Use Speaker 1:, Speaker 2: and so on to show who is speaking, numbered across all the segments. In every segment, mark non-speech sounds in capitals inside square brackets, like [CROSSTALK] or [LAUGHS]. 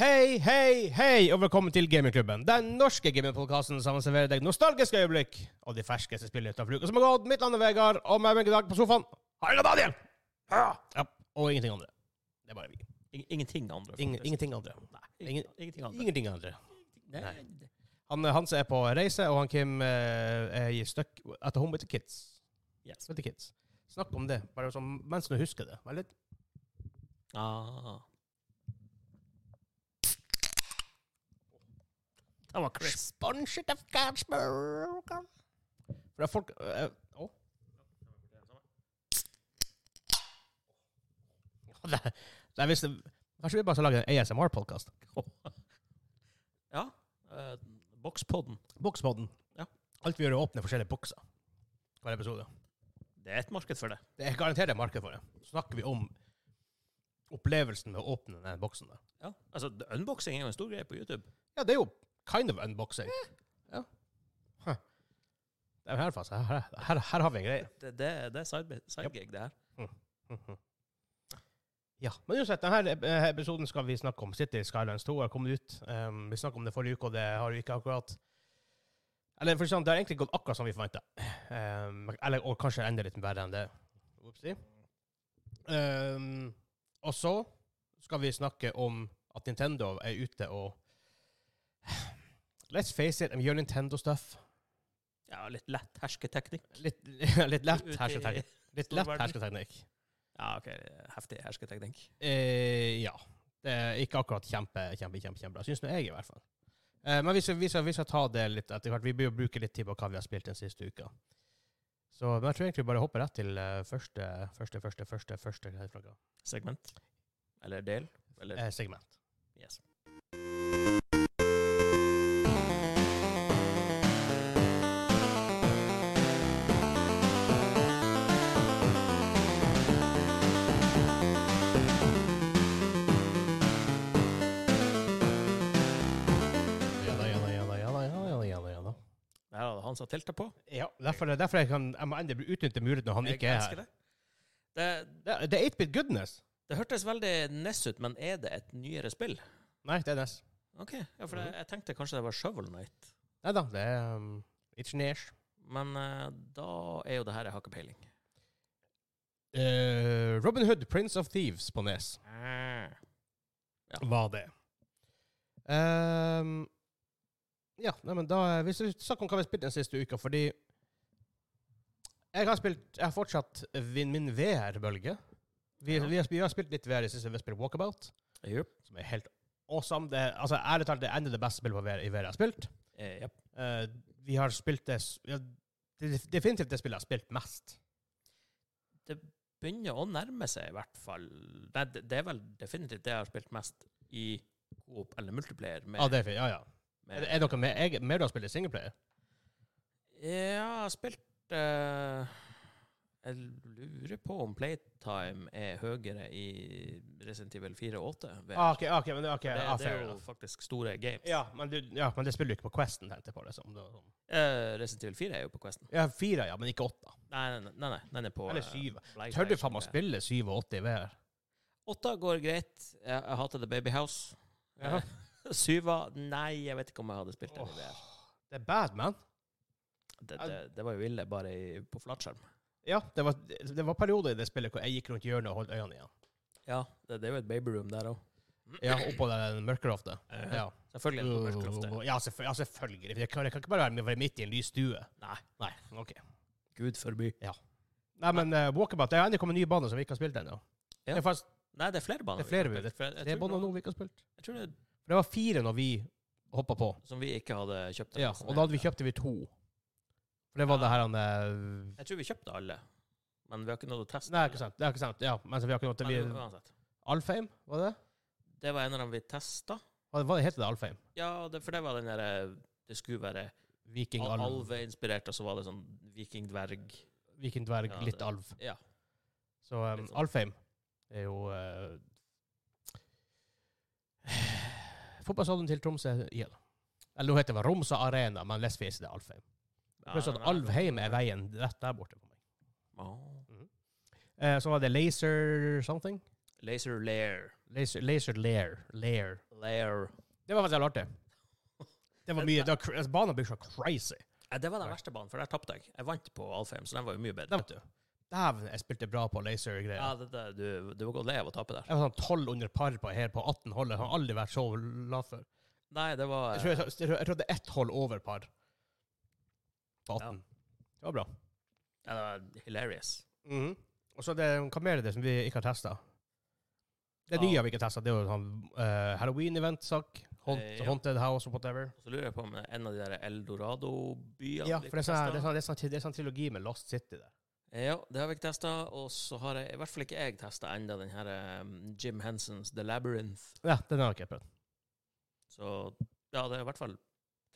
Speaker 1: Hei, hei, hei, og velkommen til Gamingklubben. Den norske gamingpodkasten som serverer deg nostalgiske øyeblikk og de ferskeste spillene utenfor uka som har gått. Mitt navn er Vegard, og med meg i dag på sofaen har jeg Daniel! Ja. ja. Og ingenting andre. Det er bare vi.
Speaker 2: Ing- Ingenting andre.
Speaker 1: Ingen,
Speaker 2: faktisk.
Speaker 1: ingenting andre. ingen-
Speaker 2: ingenting andre.
Speaker 1: Ingenting andre.
Speaker 2: Nei.
Speaker 1: Han Hans er på reise, og han Kim eh, er i støkk etter home with the kids.
Speaker 2: Yes.
Speaker 1: With the kids. Snakk om det, bare sånn mens du husker det. Vær litt
Speaker 2: Ah. Den var crisp.
Speaker 1: Sponset of Gatsburg. For det er folk eh, Å? Ja, det- det er visst- Kanskje vi bare skal lage en ASMR-podkast?
Speaker 2: Ja. eh, Bokspodden.
Speaker 1: Bokspodden.
Speaker 2: Ja.
Speaker 1: Alt vi gjør, er å åpne forskjellige bokser hver episode.
Speaker 2: Det er et marked for det.
Speaker 1: Det er garantert et marked for det. Så snakker vi om opplevelsen med å åpne den boksen der.
Speaker 2: Ja. Altså, d- Unboxing er jo en stor greie på YouTube.
Speaker 1: Ja, det er jo kind of unboxing. Ja. Huh. Det er her, fast. Her, her, her har vi en greie.
Speaker 2: Det, det, det er sidegig, side gig, det her.
Speaker 1: Mhm. [LAUGHS] Ja, men uansett, denne eh, episoden skal vi snakke om City Skylines 2 har kommet ut. Um, vi snakket om det forrige uke, og det har jo ikke akkurat Eller for å si det sånn, det har egentlig gått akkurat som vi forventa. Um, eller og kanskje enda litt verre enn det. Oopsie. Um, og så skal vi snakke om at Nintendo er ute og Let's face it, de gjør Nintendo-stuff.
Speaker 2: Ja, litt lett hersketeknikk.
Speaker 1: Litt, [LAUGHS] litt lett
Speaker 2: Ut i-
Speaker 1: hersketeknikk. Litt lett hersketeknikk.
Speaker 2: Ja, OK. Heftig hersketeknikk.
Speaker 1: Eh, ja. Det er ikke akkurat kjempe, kjempe, kjempe, kjempebra. Syns nå jeg, i hvert fall. Eh, men vi skal, vi, skal, vi skal ta det litt etter hvert. Vi bør jo bruke litt tid på hva vi har spilt den siste uka. Så men jeg tror egentlig vi bare hopper rett til eh, første, første, første, første, første hva heter det,
Speaker 2: Segment. Eller del. Eller
Speaker 1: eh, segment.
Speaker 2: Yes.
Speaker 1: Ja da, ja da, ja da, ja da, ja da, ja da, ja da.
Speaker 2: Der hadde han satt teltet på.
Speaker 1: Ja, derfor, derfor jeg kan, jeg må endelig utnytte muligheten når han
Speaker 2: Jeg
Speaker 1: ikke er
Speaker 2: elsker
Speaker 1: her.
Speaker 2: det. Det,
Speaker 1: Det, det er 8-bit goodness.
Speaker 2: det hørtes veldig Ness ut, men er det et nyere spill?
Speaker 1: Nei, det er E Ness.
Speaker 2: OK. Ja, for
Speaker 1: Mhm.
Speaker 2: jeg, jeg tenkte kanskje det var Shovel Knight.
Speaker 1: Nei da, det er um, It's Nesh.
Speaker 2: Men eh, da er jo det her jeg har ikke peiling.
Speaker 1: Eh, Robin Hood, Prince of Thieves på E Nes. Ah. var det. Ehm, ja, nei, men da eh, Hvis vi snakker om hva vi har spilt den siste uka, fordi Jeg har spilt Jeg har fortsatt min, min VR-bølge. Vi,
Speaker 2: Ja.
Speaker 1: vi, har, sp- vi har spilt litt VR i siste, vi har spilt Walkabout,
Speaker 2: Jupp.
Speaker 1: som er helt awesome. Det, er- altså, ærlig talt, det er enda det beste spillet på VR, i VR jeg har spilt.
Speaker 2: Eh, japp.
Speaker 1: Eh, vi har spilt det s- ja, Det er definitivt det spillet jeg har spilt mest.
Speaker 2: Det begynner å nærme seg, i hvert fall. Nei, det, det er vel definitivt det jeg har spilt mest i Coop eller multiplayer. Med,
Speaker 1: Ja, Ah, det er fint. Ja, ja. Er
Speaker 2: med,
Speaker 1: det er det noe mer, jeg, mer du har spilt i singleplayer?
Speaker 2: Ja, jeg har spilt eh, Jeg lurer på om playtime er høyere i Resident Evil 4 og 8. ved-
Speaker 1: Ah, ok, ok, men det, ok,
Speaker 2: det,
Speaker 1: ah,
Speaker 2: det
Speaker 1: fair
Speaker 2: er jo
Speaker 1: enough.
Speaker 2: faktisk store games.
Speaker 1: Ja men, du, ja, men det spiller du ikke på Questen, tenkte jeg på. Liksom. Det, sånn.
Speaker 2: Eh, Resident Evil 4 er jo på Questen.
Speaker 1: Ja, fire, ja, men ikke åtte.
Speaker 2: Nei, nei, nei, nei den er på
Speaker 1: Eller
Speaker 2: eh,
Speaker 1: syv.
Speaker 2: Blaze
Speaker 1: Tør du
Speaker 2: Station,
Speaker 1: faen meg
Speaker 2: det.
Speaker 1: spille 87 i VR?
Speaker 2: Åtta går greit. Jeg, jeg hater The Baby House.
Speaker 1: Ja.
Speaker 2: Eh, [LAUGHS] Syva Nei, jeg vet ikke om jeg hadde spilt den i VR.
Speaker 1: Det er bad, man.
Speaker 2: Det, det, det var jo ille, bare i, på flatskjerm.
Speaker 1: Ja, det var, det var perioder i det spillet hvor jeg gikk rundt hjørnet og holdt øynene igjen.
Speaker 2: Ja, det, det er jo et babyroom der òg.
Speaker 1: Ja, Oppå den mørkeroftet. Ja. Uh,
Speaker 2: Selvfølgelig er det på mørkeroftet.
Speaker 1: Ja, selvfø- ja, selvfølgelig. Det kan, det kan ikke bare være- være midt i en lys stue.
Speaker 2: Nei.
Speaker 1: Nei, ok.
Speaker 2: Gud forby.
Speaker 1: Nei, men eh, Walkabout, det har endelig kommet nye baner som vi ikke har spilt ennå.
Speaker 2: Ja.
Speaker 1: Det er faktisk
Speaker 2: Nei, det er flere baner.
Speaker 1: Det er flere
Speaker 2: vi kan spille, for jeg- jeg
Speaker 1: tre
Speaker 2: tror
Speaker 1: baner
Speaker 2: noen-
Speaker 1: nå vi ikke har spilt.
Speaker 2: Jeg tror det er
Speaker 1: For det var fire når vi hoppa på.
Speaker 2: som vi ikke hadde kjøpt.
Speaker 1: Ja, og da hadde vi kjøpte vi to. For det var
Speaker 2: Ja.
Speaker 1: det her han eh,
Speaker 2: Jeg tror vi kjøpte alle, men vi har ikke nådd å teste.
Speaker 1: Nei, ikke sant. Det er ikke sant. Ja, men så vi har ikke noe til
Speaker 2: alle. Men
Speaker 1: vi-
Speaker 2: uansett.
Speaker 1: Alfheim, var det det?
Speaker 2: Det var en av dem vi testa.
Speaker 1: Hva, hva heter det? Alfheim?
Speaker 2: Ja, det, for det var den derre Det skulle være
Speaker 1: Viking,
Speaker 2: al
Speaker 1: alv.
Speaker 2: alveinspirert, og så var det sånn vikingdverg.
Speaker 1: Viking, dverg,
Speaker 2: Ja,
Speaker 1: litt
Speaker 2: det-
Speaker 1: alv.
Speaker 2: Ja.
Speaker 1: Så um,
Speaker 2: litt sånn.
Speaker 1: Alfheim er jo uh, Fotballstadion til Tromsø igjen. Eller nå heter det vel Romsa Arena, men let's face it, det er Alfheim.
Speaker 2: Ja,
Speaker 1: Pluss at
Speaker 2: nei, nei.
Speaker 1: Alvheim er veien rett der borte for meg.
Speaker 2: Åh.
Speaker 1: Eh, så var det Laser something.
Speaker 2: Laser Lair.
Speaker 1: Laser, laser lair. Lair.
Speaker 2: Lair.
Speaker 1: Det var faktisk jævlig artig. Det
Speaker 2: [LAUGHS]
Speaker 1: var mye, det var, cr- altså, banen blir så crazy.
Speaker 2: Ja, det var den verste banen, for der tapte jeg. Jeg vant på Alfheim, så den var jo mye
Speaker 1: Det
Speaker 2: bedre.
Speaker 1: vet du. Dæven, jeg spilte bra på
Speaker 2: Ja,
Speaker 1: laser-greier.
Speaker 2: det, det, du, du var godt lei av å tape der.
Speaker 1: Jeg var sånn 12 under par på her på 18 holdet. Jeg har aldri vært så lav før.
Speaker 2: Nei, det var
Speaker 1: Jeg tror, jeg, jeg, tror- jeg tror det er ett hold over par på 18. Det var bra.
Speaker 2: ja, det var hilarious.
Speaker 1: Mhm. Og så er det, hva mer er det som vi ikke har testa? Det
Speaker 2: Ja.
Speaker 1: nye vi ikke har testa, det er jo sånn eh, Halloween-event-sak. Haunt,
Speaker 2: Eh, ja.
Speaker 1: Haunted House og whatever.
Speaker 2: Og så lurer jeg på om det er en av de der Eldorado-byene
Speaker 1: Ja,
Speaker 2: vi
Speaker 1: for det er sånn, her-
Speaker 2: testet.
Speaker 1: det er sånn, det er sånn, det er sånn trilogi med Lost City der.
Speaker 2: Ja, det har vi ikke testa. Og så har jeg, i hvert fall ikke jeg testa ennå, den her um, Jim Hensons The Labyrinth.
Speaker 1: Ja, den har jeg ikke prøvd.
Speaker 2: Så ja, det er i hvert fall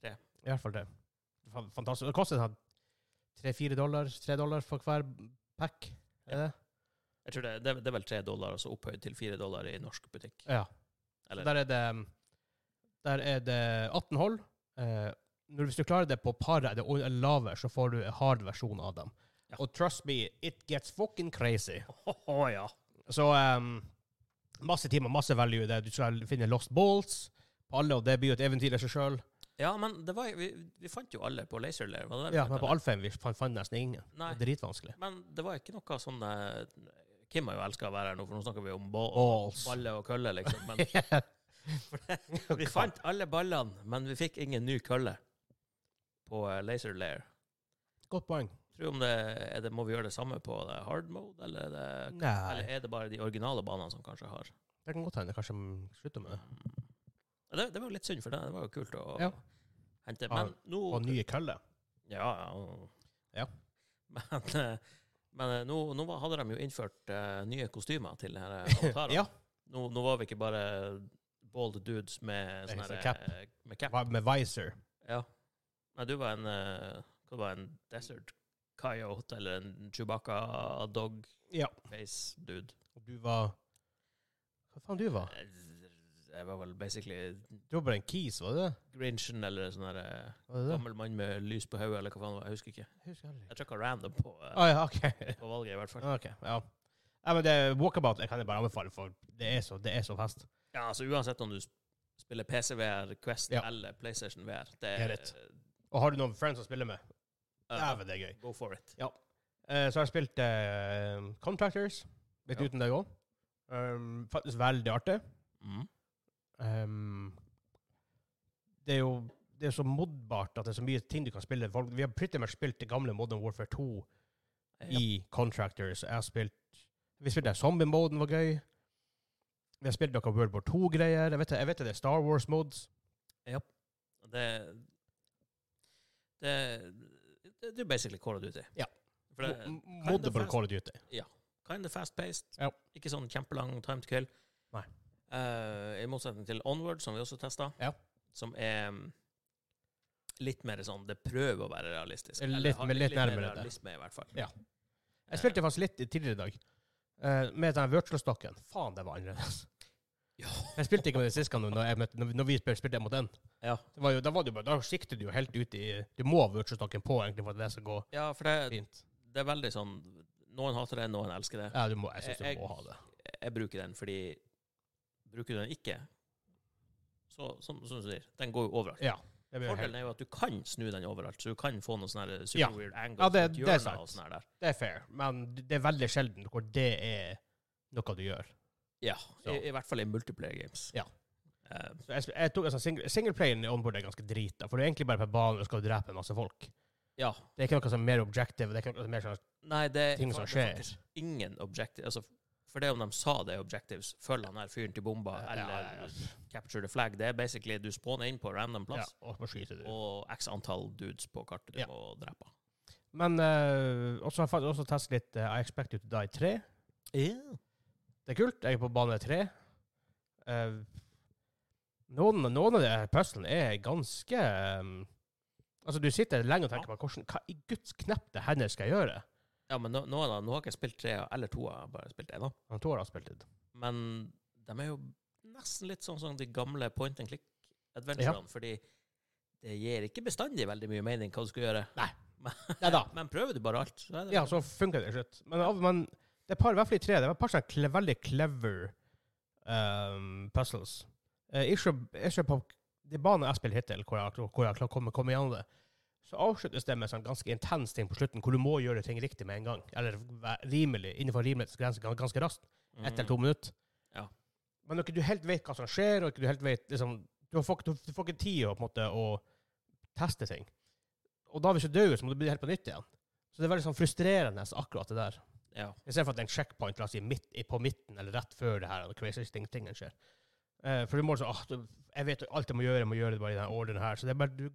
Speaker 1: I hvert fall det. Fan- Fantastisk. Det koster sånn tre-fire dollar, tre dollar for hver pack. Er det?
Speaker 2: Jeg tror det, det, er- det er vel tre dollar, og så opphøyd til fire dollar i norsk butikk.
Speaker 1: Ja. Så
Speaker 2: Eller
Speaker 1: Der er det um, Der er det 18 hold. Eh, når, hvis du klarer det på paret er det o- eller lavere, så får du en hard versjon av dem.
Speaker 2: Ja.
Speaker 1: Og trust me, it gets fucking crazy.
Speaker 2: Åhå, ja.
Speaker 1: Så ehm, masse timer, masse value i det. Du skal finne lost balls på alle, og det blir jo et eventyr i seg sjøl.
Speaker 2: Ja, men det var, vi, vi fant jo alle på Laser Lair. var det det vi
Speaker 1: Ja,
Speaker 2: fant
Speaker 1: men på
Speaker 2: alle?
Speaker 1: Alfheim vi fant, fant nesten ingen. Det
Speaker 2: Nei,
Speaker 1: er dritvanskelig.
Speaker 2: men det var ikke noe sånn eh, Kim har jo elska å være her nå, for nå snakker vi om ball,
Speaker 1: Balls.
Speaker 2: baller og køller, liksom.
Speaker 1: [LAUGHS]
Speaker 2: Men [LAUGHS] vi fant alle ballene, men vi fikk ingen ny kølle på eh, Laser Lair.
Speaker 1: Godt poeng.
Speaker 2: Tror om det, er det, må vi gjøre det samme på det hard mode, eller er, det, eller
Speaker 1: Nei.
Speaker 2: er det bare de originale banene som kanskje har?
Speaker 1: Det kan godt hende. Kanskje de slutter med det.
Speaker 2: Ja, Det, det var jo litt synd, for det, det var jo kult å
Speaker 1: Ja.
Speaker 2: hente.
Speaker 1: Ja,
Speaker 2: Men nå
Speaker 1: Og nye køller.
Speaker 2: Ja, ja. og-
Speaker 1: Ja.
Speaker 2: Men, eh, men eh, nå, nå var- hadde de jo innført eh, nye kostymer til denne
Speaker 1: [LAUGHS]
Speaker 2: avtalen.
Speaker 1: Ja.
Speaker 2: nå, nå var vi ikke bare bald dudes med
Speaker 1: Nei,
Speaker 2: sånn
Speaker 1: så
Speaker 2: her,
Speaker 1: liksom cap.
Speaker 2: eh, Med cap.
Speaker 1: Hva Med visor.
Speaker 2: Ja. Nei, du var en eh, Hva var en Desert Coyote eller en Chewbacca dog
Speaker 1: Ja.
Speaker 2: face dude? Eh,
Speaker 1: Og du var Hva faen du var?
Speaker 2: Jeg var vel basically
Speaker 1: Du var bare en kis, var du det?
Speaker 2: Grinchen eller sånn her eh,
Speaker 1: Var du det?
Speaker 2: gammel mann med lys på hodet, eller hva faen det var. Jeg husker ikke.
Speaker 1: Jeg husker heller ikke.
Speaker 2: Jeg trykka random på, eh,
Speaker 1: Å ja, OK. [LAUGHS]
Speaker 2: på valget, i hvert fall.
Speaker 1: Ok, ja. Nei, men det Walkabout jeg kan jeg bare anbefale, for det er så, det er så fest.
Speaker 2: Ja, altså uansett om du sp- spiller PC-VR, Quest
Speaker 1: Ja.
Speaker 2: eller PlayStation VR,
Speaker 1: Det
Speaker 2: det
Speaker 1: er rett. Og har du noen friends å spille med,
Speaker 2: eh,
Speaker 1: dæven, det er gøy.
Speaker 2: Go for it.
Speaker 1: Eh, så har jeg spilt eh, Contractors, litt
Speaker 2: Ja.
Speaker 1: uten deg òg. Um, faktisk veldig artig.
Speaker 2: Mm.
Speaker 1: Um, det er jo det er så modbart at det er så mye ting du kan spille. Folk, vi har pretty much spilt det gamle Modern Warfare 2 i Contractors. Jeg har spilt Vi spilte zombie-moden, var gøy. Vi har spilt noe World War 2-greier. Jeg, vet- jeg vet det er Star Wars-modes.
Speaker 2: Og Det, det, det, det er basically Call of Duty.
Speaker 1: Ja.
Speaker 2: For det,
Speaker 1: Modable Call of Duty.
Speaker 2: kind of fast-paced.
Speaker 1: Ja.
Speaker 2: Ikke sånn kjempelang time to kill.
Speaker 1: Nei.
Speaker 2: Eh, I motsetning til Onward, som vi også testa,
Speaker 1: Ja.
Speaker 2: som er mm, litt mer sånn Det prøver å være realistisk.
Speaker 1: Litt-
Speaker 2: Eller har
Speaker 1: men litt
Speaker 2: mer
Speaker 1: nærmere det.
Speaker 2: realisme, i hvert fall. Eh,
Speaker 1: Ja. Jeg spilte faktisk litt tidligere i dag, eh, med den virtual-stokken. Faen, det var annerledes.
Speaker 2: Ja.
Speaker 1: Jeg spilte ikke med den sist gang, når, jeg møtte, når vi- når vi spil- spilte mot den.
Speaker 2: Ja.
Speaker 1: Det var jo, da, var det jo bare, da sikter du jo helt ut i Du må ha virtual-stokken på egentlig for at det skal gå
Speaker 2: ja, for det,
Speaker 1: fint.
Speaker 2: det er veldig sånn Noen hater det, noen elsker det.
Speaker 1: Ja, du må, jeg syns du
Speaker 2: Jeg-
Speaker 1: må ha det.
Speaker 2: Jeg bruker den fordi Bruker du den ikke, så som, som du sier, den går jo overalt.
Speaker 1: Ja. Det, blir jo helt,
Speaker 2: Fordelen er jo at du kan snu den overalt, så du kan få noen sånne her super
Speaker 1: Ja.
Speaker 2: weird angles
Speaker 1: Ja, det-
Speaker 2: rundt
Speaker 1: det er
Speaker 2: hjørnet
Speaker 1: sant.
Speaker 2: og sånne her der.
Speaker 1: det er fair, men det er veldig sjelden hvor det er noe du gjør.
Speaker 2: Ja, i,
Speaker 1: Så.
Speaker 2: i hvert fall i multiplayer games.
Speaker 1: Ja.
Speaker 2: Eh,
Speaker 1: Så jeg, sp- jeg tok altså, sing Singleplayeren i Onboard er ganske drita, for du er egentlig bare på banen og skal drepe en masse folk.
Speaker 2: ja. Eh,
Speaker 1: Det er ikke noe som er mer objective, det er ikke noe som er mer sånn
Speaker 2: Nei, det er
Speaker 1: ting som
Speaker 2: det er
Speaker 1: skjer.
Speaker 2: faktisk ingen objective altså, For det om de sa det er objectives, følg han her fyren til bomba,
Speaker 1: Ja,
Speaker 2: eller
Speaker 1: ja, ja.
Speaker 2: capture the flag, det er basically du spawner inn på random
Speaker 1: Ja,
Speaker 2: plass,
Speaker 1: og så skyter du.
Speaker 2: og x antall dudes på kartet du
Speaker 1: Ja.
Speaker 2: må drepe.
Speaker 1: Men uh, også har jeg faktisk også testet litt eh, I Expect You To Die 3. Det er kult. Jeg er på bane 3. Eh, noen, noen av de her puzzlene er ganske eh, Altså, du sitter lenge og tenker på hvordan, hva i guds knepte hender skal jeg gjøre?
Speaker 2: Ja, men nå, nå, er det- nå har jeg ikke spilt tre eller to, jeg har bare spilt én.
Speaker 1: Han Tor har spilt det.
Speaker 2: Men de er jo nesten litt sånn som de gamle point and click-adventurene, fordi det gir ikke bestandig veldig mye mening hva du skal gjøre.
Speaker 1: Nei da.
Speaker 2: Men prøver du bare alt, så er det
Speaker 1: Ja, så funker det til slutt. Men, av- men det er par, i hvert fall i tre, det er et par sånne cle, veldig clever ehm, puzzles. Eh, ikke, ikke på de banene jeg spiller hittil, hvor jeg, har- hvor jeg har klart å komme, komme gjennom det, så avsluttes det med sånn ganske intens ting på slutten, hvor du må gjøre ting riktig med en gang. Eller væ- rimelig, innenfor rimelighetens grense, gans- ganske raskt
Speaker 2: Mm.
Speaker 1: ett eller to minutter.
Speaker 2: Ja.
Speaker 1: Men når ikke du helt vet hva som skjer, og ikke du helt vet liksom, du, får, ikke- du får ikke tid å, på en måte, å teste ting. Og da hvis du dør, så må du begynne helt på nytt igjen. Så det er veldig sånn frustrerende akkurat det der.
Speaker 2: Ja.
Speaker 1: I stedet for at det er en checkpoint la oss si, midt, i- på midten eller rett før det her, og crazy ting, tingen skjer. Eh, for du må sånn, ah, du, jeg vet jo alt jeg må gjøre, jeg må gjøre det bare i denne ordren her. Så det er bare, du,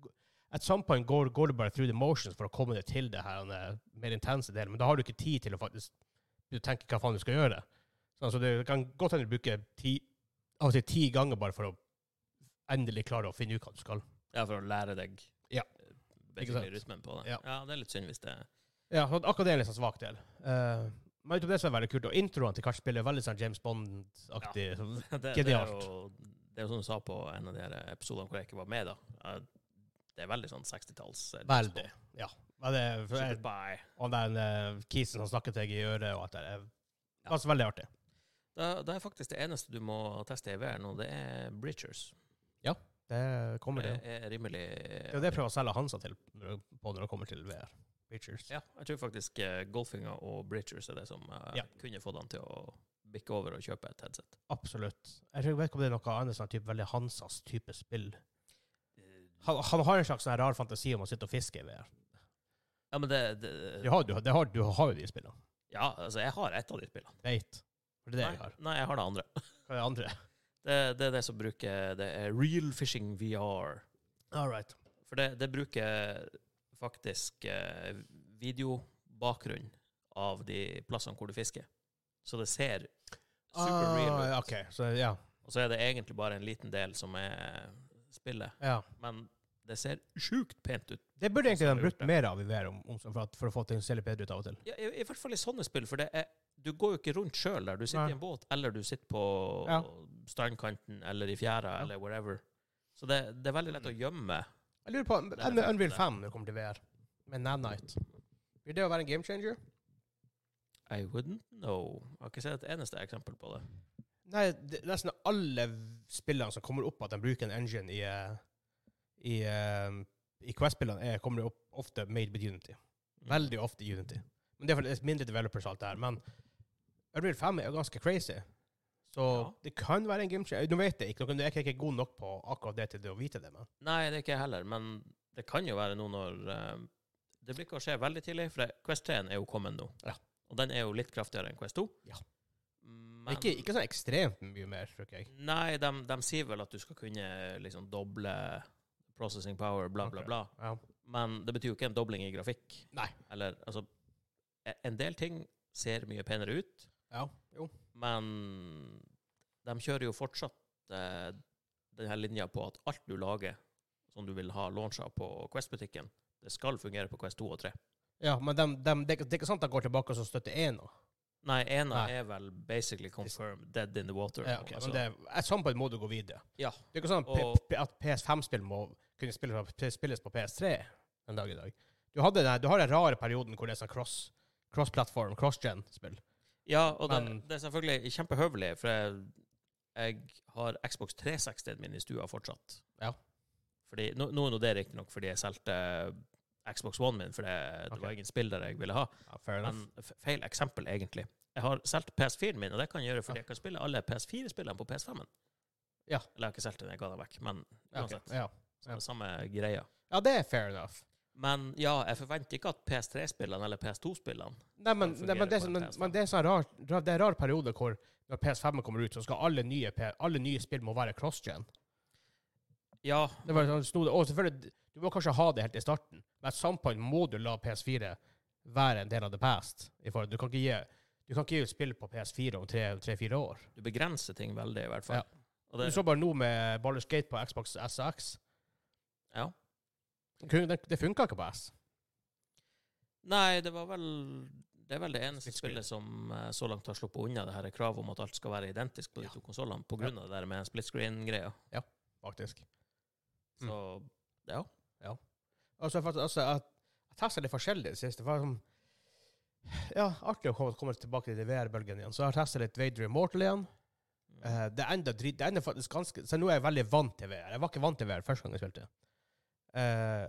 Speaker 1: at some point går, går du bare through the motions for å komme deg til det her, den eh, mer intense delen, men da har du ikke tid til å faktisk du tenker hva faen du skal gjøre. Sånn, så det kan godt hende du bruker ti, av og til ti ganger bare for å endelig klare å finne ut hva du skal.
Speaker 2: ja, for å lære deg
Speaker 1: Ja.
Speaker 2: eh,
Speaker 1: Ikke sant?
Speaker 2: basically rytmen på det.
Speaker 1: Ja.
Speaker 2: Ja. det er litt synd hvis det [LAUGHS]
Speaker 1: Ja, så akkurat det er en litt sånn svak del. Eh, men utenom det så er det veldig kult, og introen til hvert spill er veldig sånn James Bond-aktig. sånn-
Speaker 2: det, det, er
Speaker 1: Genialt.
Speaker 2: jo, det er jo som du sa på en av de her episodene hvor jeg ikke var med, da. Eh, Det er veldig sånn 60-talls. eh,
Speaker 1: Veldig. Ja. Men det er, for
Speaker 2: Super
Speaker 1: jeg,
Speaker 2: Bye.
Speaker 1: og den eh, kisen som snakker til deg i øret og alt det der, det
Speaker 2: Ja.
Speaker 1: er altså veldig artig.
Speaker 2: Da, da er faktisk det eneste du må teste i VR nå, det er Bridgers.
Speaker 1: Det kommer
Speaker 2: Det
Speaker 1: Eh, det.
Speaker 2: er rimelig
Speaker 1: Det er jo det jeg prøver å selge Hansa til når det- på når det kommer til VR. Features.
Speaker 2: Ja, jeg tror faktisk eh, Golfinga og Bridgers er det som eh,
Speaker 1: Ja.
Speaker 2: kunne fått han til å bikke over og kjøpe et headset.
Speaker 1: Absolutt. Jeg tror jeg vet ikke om det er noe annet sånn type, veldig Hansas type spill.
Speaker 2: Eh,
Speaker 1: Han, han har en slags sånn her rar fantasi om å sitte og fiske i VR.
Speaker 2: Ja, men det, det
Speaker 1: Du har, du, har- det har, du har jo de spillene.
Speaker 2: Ja, altså, jeg har ett av de spillene.
Speaker 1: Veit. For det er det
Speaker 2: nei,
Speaker 1: jeg har.
Speaker 2: nei, jeg har det andre.
Speaker 1: Hva er det andre?
Speaker 2: Det, det er det som bruker Det er Real Fishing VR.
Speaker 1: All right.
Speaker 2: For det, det bruker faktisk eh, videobakgrunn av de plassene hvor du fisker. Så det ser super real ut.
Speaker 1: Ah, OK, så ja.
Speaker 2: Og så er det egentlig bare en liten del som er spillet.
Speaker 1: ja.
Speaker 2: Men det ser sjukt pent ut.
Speaker 1: Det burde egentlig de
Speaker 2: Absolutt.
Speaker 1: brukt mer av i VR om, om, for, at, for å få ting til å se litt bedre ut av og til.
Speaker 2: Ja, i, I hvert fall i sånne spill, for det er, du går jo ikke rundt sjøl der. Du sitter
Speaker 1: Nei.
Speaker 2: i en båt, eller du sitter på
Speaker 1: Ja.
Speaker 2: strandkanten, eller i fjæra,
Speaker 1: Ja.
Speaker 2: eller wherever. Så det, det er veldig lett å gjemme.
Speaker 1: Jeg lurer på
Speaker 2: er
Speaker 1: Un-
Speaker 2: det
Speaker 1: Unreal
Speaker 2: fint, det.
Speaker 1: 5 når det kommer til VR, med Nanite. Vil det å være en game changer?
Speaker 2: I wouldn't know. Jeg har ikke sett et eneste eksempel på det.
Speaker 1: Nei, det, nesten alle v- spillene som kommer opp at de bruker en engine i, eh, i, eh, i Quest-spillene, er- kommer det opp ofte made with Unity.
Speaker 2: Mm.
Speaker 1: Veldig ofte i Unity. Men Det er fordi det er mindre developers og alt det her. Men Unreal 5 er jo ganske crazy. Så
Speaker 2: Ja.
Speaker 1: det kan være en gamechanger. Nå vet jeg ikke, nå er jeg ikke god nok på akkurat det til å vite det, men
Speaker 2: Nei, det er ikke jeg heller, men det kan jo være nå når eh, Det blir ikke å skje veldig tidlig, for det, Quest 3 er jo kommet nå.
Speaker 1: Ja.
Speaker 2: Og den er jo litt kraftigere enn Quest 2.
Speaker 1: Ja.
Speaker 2: Men
Speaker 1: ikke, ikke sånn ekstremt mye mer, tror jeg.
Speaker 2: Nei, de, sier vel at du skal kunne liksom doble processing power, bla, bla,
Speaker 1: Ok.
Speaker 2: bla.
Speaker 1: Ja.
Speaker 2: Men det betyr jo ikke en dobling i grafikk.
Speaker 1: Nei.
Speaker 2: Eller, altså e- En del ting ser mye penere ut,
Speaker 1: ja. Jo.
Speaker 2: men de kjører jo fortsatt eh, denne linja på at alt du lager som du vil ha launcha på Quest-butikken, det skal fungere på Quest 2 og 3.
Speaker 1: Ja, men dem- dem- det, er ikke- det er ikke sant at de går tilbake og så støtter én nå.
Speaker 2: Nei, ena
Speaker 1: Nei.
Speaker 2: er vel basically confirmed dead in the water.
Speaker 1: Ja, ok, men
Speaker 2: altså.
Speaker 1: det, sånn at some point må du gå videre.
Speaker 2: Ja.
Speaker 1: Det er ikke sånn at,
Speaker 2: Og-
Speaker 1: P- P- at PS5-spill må kunne spille på- spilles på PS3 en dag i dag. Du, hadde den, du har den rare perioden hvor det er sånn cross- cross-plattform, cross-gen-spill.
Speaker 2: ja og det,
Speaker 1: Men-
Speaker 2: det er selvfølgelig kjempehøvelig, for jeg, jeg har Xbox 360-en min i stua fortsatt.
Speaker 1: Ja.
Speaker 2: Fordi, nå, nå er nå det riktignok fordi jeg solgte Xbox One min, for det, det
Speaker 1: Ok.
Speaker 2: var ingen spill der jeg ville ha.
Speaker 1: Ja, fair
Speaker 2: Men f- feil eksempel, egentlig. Jeg har solgt PS4-en min, og det kan jeg gjøre fordi
Speaker 1: Ja.
Speaker 2: jeg kan spille alle PS4-spillene på PS5-en.
Speaker 1: Ja.
Speaker 2: Eller jeg har ikke solgt den, jeg ga den vekk. Men
Speaker 1: Ja, ok,
Speaker 2: uansett,
Speaker 1: ja.
Speaker 2: så er det samme greia.
Speaker 1: ja, det er fair enough.
Speaker 2: Men ja, jeg forventer ikke at PS3-spillene eller PS2-spillene
Speaker 1: Nei, men,
Speaker 2: Den
Speaker 1: nei, men, det, er sånn-
Speaker 2: fungerer på en
Speaker 1: men,
Speaker 2: PS5.
Speaker 1: men det er sånn rar, rar, det er en rar periode hvor når PS5 kommer ut, så skal alle nye, P- alle nye spill må være cross-gen.
Speaker 2: Ja,
Speaker 1: Det var sånn snodig. Og selvfølgelig, du må kanskje ha det helt i starten, men at some point må du la PS4 være en del av the past. I forhold- Du kan ikke gi, du kan ikke gi ut spill på PS4 om tre-fire år.
Speaker 2: du begrenser ting veldig, i hvert fall.
Speaker 1: Ja.
Speaker 2: Og det,
Speaker 1: Du så bare nå med Ballers Gate på Xbox SX.
Speaker 2: ja.
Speaker 1: Kun- Det, det funka ikke på S.
Speaker 2: Nei, det var vel Det er vel det eneste
Speaker 1: Litt skryt.
Speaker 2: spillet som eh, så langt har sluppet unna det her kravet om at alt skal være identisk på de
Speaker 1: Ja.
Speaker 2: to konsollene, på grunn av det der med split screen-greia.
Speaker 1: faktisk. Mm.
Speaker 2: Så ja.
Speaker 1: Og så faktisk også at jeg testa litt forskjellig i det siste. For sånn, ja, artig å komme, komme tilbake til VR-bølgen igjen. Så jeg har testa litt Vader Immortal igjen.
Speaker 3: Mm.
Speaker 1: Eh, det er enda dritt, det er enda faktisk ganske, så nå er jeg veldig vant til VR. Jeg var ikke vant til VR første gang jeg spilte. Eh,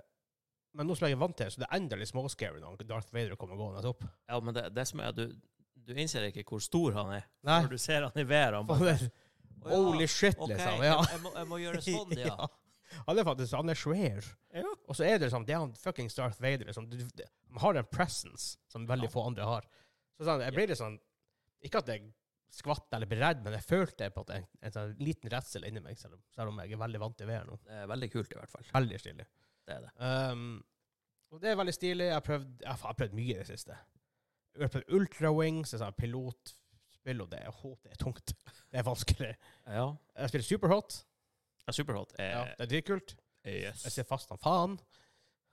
Speaker 1: men nå som jeg er vant til det, så det er enda litt småscary når Darth Vader kommer gående opp.
Speaker 2: Ja, men det, det som er, du, du innser ikke hvor stor han er.
Speaker 1: Nei,
Speaker 2: Når du ser han i været, han bare
Speaker 1: faen, det-
Speaker 3: Å, ja,
Speaker 1: holy shit,
Speaker 3: ok,
Speaker 1: liksom.
Speaker 3: Jeg,
Speaker 1: Ja.
Speaker 3: jeg, må, jeg må
Speaker 2: [LAUGHS]
Speaker 3: gjøre sånn,
Speaker 1: [LAUGHS]
Speaker 3: ja.
Speaker 1: Han er faktisk, han er svær.
Speaker 2: Ja.
Speaker 1: Og så er det liksom, det er han fucking Darth Vader, liksom. Du, det, han har en presence som veldig
Speaker 2: Ja.
Speaker 1: få andre har. Så sånn, jeg blir litt sånn, ikke at jeg skvatt eller ble redd, men jeg følte på at en, en sånn liten redsel inni meg, selv om, selv om jeg er veldig vant til VR nå.
Speaker 2: Det er veldig kult, i hvert fall.
Speaker 1: Veldig stilig.
Speaker 2: Det er det.
Speaker 1: Um, og det er veldig stilig. Jeg har prøvd, jeg har faen prøvd mye i det siste. Jeg har prøvd Ultra Wings, jeg sa pilotspill, og det, jeg håper det er tungt. [LAUGHS] Det er vanskelig.
Speaker 2: Ja.
Speaker 1: Jeg spiller Superhot.
Speaker 2: ja Superhot er
Speaker 1: Ja, det er dritkult.
Speaker 2: yes.
Speaker 1: Jeg ser fast som faen.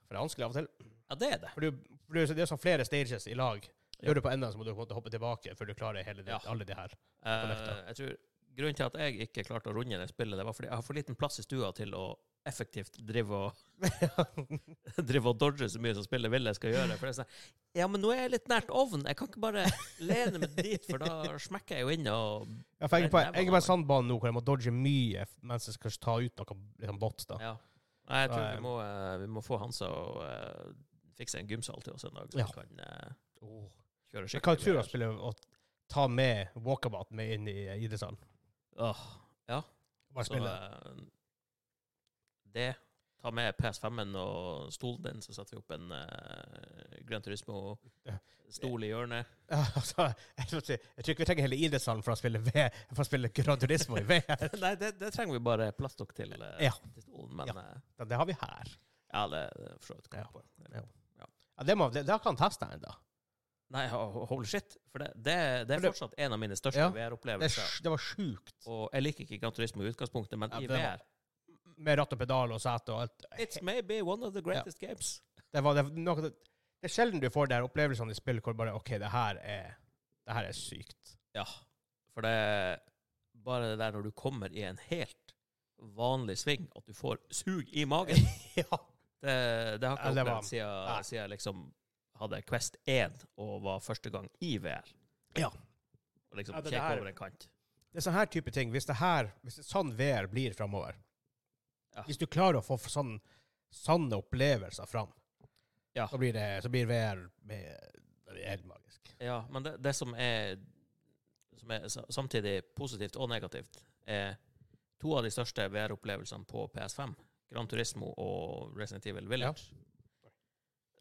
Speaker 1: For det er vanskelig av og til.
Speaker 2: Ja, det er det.
Speaker 1: For du, for du, det er sånn flere stages i lag.
Speaker 2: Ja.
Speaker 1: Gjør du på enden, så må du på en måte hoppe tilbake før du klarer hele det,
Speaker 2: Ja.
Speaker 1: alle de her.
Speaker 2: Eh, jeg tror Grunnen til at jeg ikke klarte å runde det spillet, det var fordi jeg har for liten plass i stua til å effektivt drive og, drive og [LAUGHS] dodge så mye som spillet vil jeg skal gjøre. For det er sånn, ja, men nå er jeg litt nært ovnen. Jeg kan ikke bare lene meg dit, for da smekker jeg jo inn og
Speaker 1: Ja, for jeg er på
Speaker 2: Nei, det
Speaker 1: jeg
Speaker 2: var
Speaker 1: er på en
Speaker 2: det.
Speaker 1: sandbane nå hvor jeg må dodge mye f- mens jeg skal ta ut noen liksom, bots. da.
Speaker 2: Ja. Nei, jeg tror
Speaker 1: Nei.
Speaker 2: vi må, eh, vi må få Hansa og eh, fikse en gymsal til oss en dag, så
Speaker 1: Ja.
Speaker 2: vi kan eh,
Speaker 1: Åh.
Speaker 2: kjøre
Speaker 1: Jeg kan
Speaker 2: skikkelig.
Speaker 1: tro
Speaker 2: med
Speaker 1: jeg spiller å ta med walkabout med inn i eh, idrettshallen.
Speaker 2: det. Åh,
Speaker 1: Bare
Speaker 2: så,
Speaker 1: spille.
Speaker 2: eh, det. Ta med PS5-en og stolen din, så setter vi opp en uh, Gran
Speaker 1: Ja.
Speaker 2: Turismo-stol i hjørnet. [LAUGHS]
Speaker 1: Ja, [LAUGHS] altså, jeg, tror ikke, jeg tror ikke vi trenger hele idrettshallen for å spille, V- for å spille Gran Turismo i [LAUGHS] VR.
Speaker 2: Nei, det, det trenger vi bare plastdokk til, eh,
Speaker 1: Ja.
Speaker 2: til stolen, men
Speaker 1: Ja.
Speaker 2: ja,
Speaker 1: Ja, det har vi her.
Speaker 2: ja det det er for så vidt
Speaker 1: Ja.
Speaker 2: godt på.
Speaker 1: Ja. Ja, det, må, det, det kan teste ennå.
Speaker 2: Nei, ho- holy shit. For det, det, det
Speaker 1: For
Speaker 2: er
Speaker 1: det-
Speaker 2: fortsatt en av mine største
Speaker 1: Ja. Det, er
Speaker 2: VR-opplevelser.
Speaker 1: sj- det var sjukt.
Speaker 2: Og jeg liker ikke Gran Turismo i utgangspunktet, men
Speaker 1: Ja,
Speaker 2: i
Speaker 1: det var-
Speaker 2: VR
Speaker 1: Med ratt og pedal og sete og alt.
Speaker 2: It's maybe one of the greatest games.
Speaker 1: Det, var, det, var noe, det er sjelden du får de her opplevelsene i spill hvor bare OK, det her er, det her er
Speaker 2: [LAUGHS]
Speaker 1: sykt.
Speaker 2: Ja. For det er bare det der når du kommer i en helt vanlig sving, at du får sug i magen.
Speaker 1: ja.
Speaker 2: Det, det har
Speaker 1: Ja,
Speaker 2: ikke
Speaker 1: det
Speaker 2: jeg
Speaker 1: var-
Speaker 2: opplevd siden,
Speaker 1: Nei.
Speaker 2: siden jeg liksom hadde Quest 1 og var første gang i VR.
Speaker 1: Ja.
Speaker 2: Og liksom
Speaker 1: Ja, det- det
Speaker 2: kikke
Speaker 1: her-
Speaker 2: over en kant.
Speaker 1: Det er sånn her type ting. Hvis det her, hvis det sånn VR blir framover
Speaker 2: Ja.
Speaker 1: Hvis du klarer å få sånn, sanne opplevelser fram,
Speaker 2: Ja.
Speaker 1: så, blir det, så blir VR med, det blir helt magisk.
Speaker 2: Ja, men det, det som er som er sa- samtidig positivt og negativt, er to av de største VR-opplevelsene på PS5, Gran Turismo og Resident Evil Village.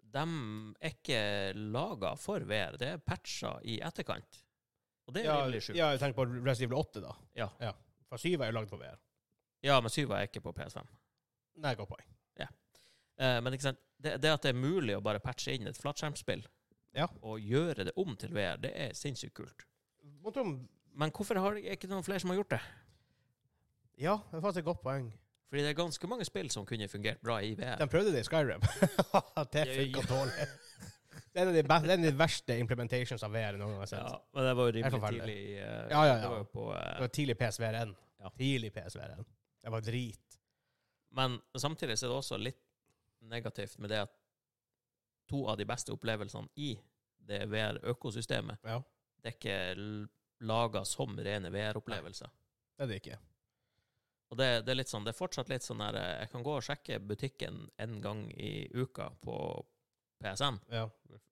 Speaker 2: De er ikke laga for VR, det er patcha i etterkant. Og det er
Speaker 1: Ja,
Speaker 2: rimelig sjukt. Ja.
Speaker 1: ja, tenk på Resident Evil 8, da.
Speaker 2: Ja.
Speaker 1: For 7 er jo lagd for VR.
Speaker 2: men syva er ikke på PS5.
Speaker 1: Nei, godt poeng.
Speaker 2: Eh, men ikke sant? Det, det at det er mulig å bare patche inn et flatskjermspill
Speaker 1: Ja.
Speaker 2: og gjøre det om til VR, det er sinnssykt kult.
Speaker 1: Må tro om-
Speaker 2: Men hvorfor har det ikke noen flere som har gjort det?
Speaker 1: Ja, det er faktisk et godt poeng.
Speaker 2: Fordi det er ganske mange spill som kunne fungert bra i VR.
Speaker 1: De prøvde det i Skyrim. [LAUGHS] det funka dårlig. Det er en av de be- det er en av de verste implementations av VR noen gang jeg har sett.
Speaker 2: Ja, men det var jo
Speaker 1: Helt
Speaker 2: rimelig
Speaker 1: forferdelig.
Speaker 2: tidlig. eh,
Speaker 1: Ja, ja,
Speaker 2: Det
Speaker 1: ja.
Speaker 2: var jo på, eh,
Speaker 1: Det var tidlig PSVR1.
Speaker 2: Ja.
Speaker 1: Tidlig PSVR1. Det var drit.
Speaker 2: men samtidig så er det også litt negativt med det at to av de beste opplevelsene i det VR-økosystemet,
Speaker 1: Ja,
Speaker 2: det er ikke laga som rene VR-opplevelser.
Speaker 1: det er det ikke.
Speaker 2: Og det, det er litt sånn, det er fortsatt litt sånn der eh, Jeg kan gå og sjekke butikken en gang i uka på PSN.
Speaker 1: Ja,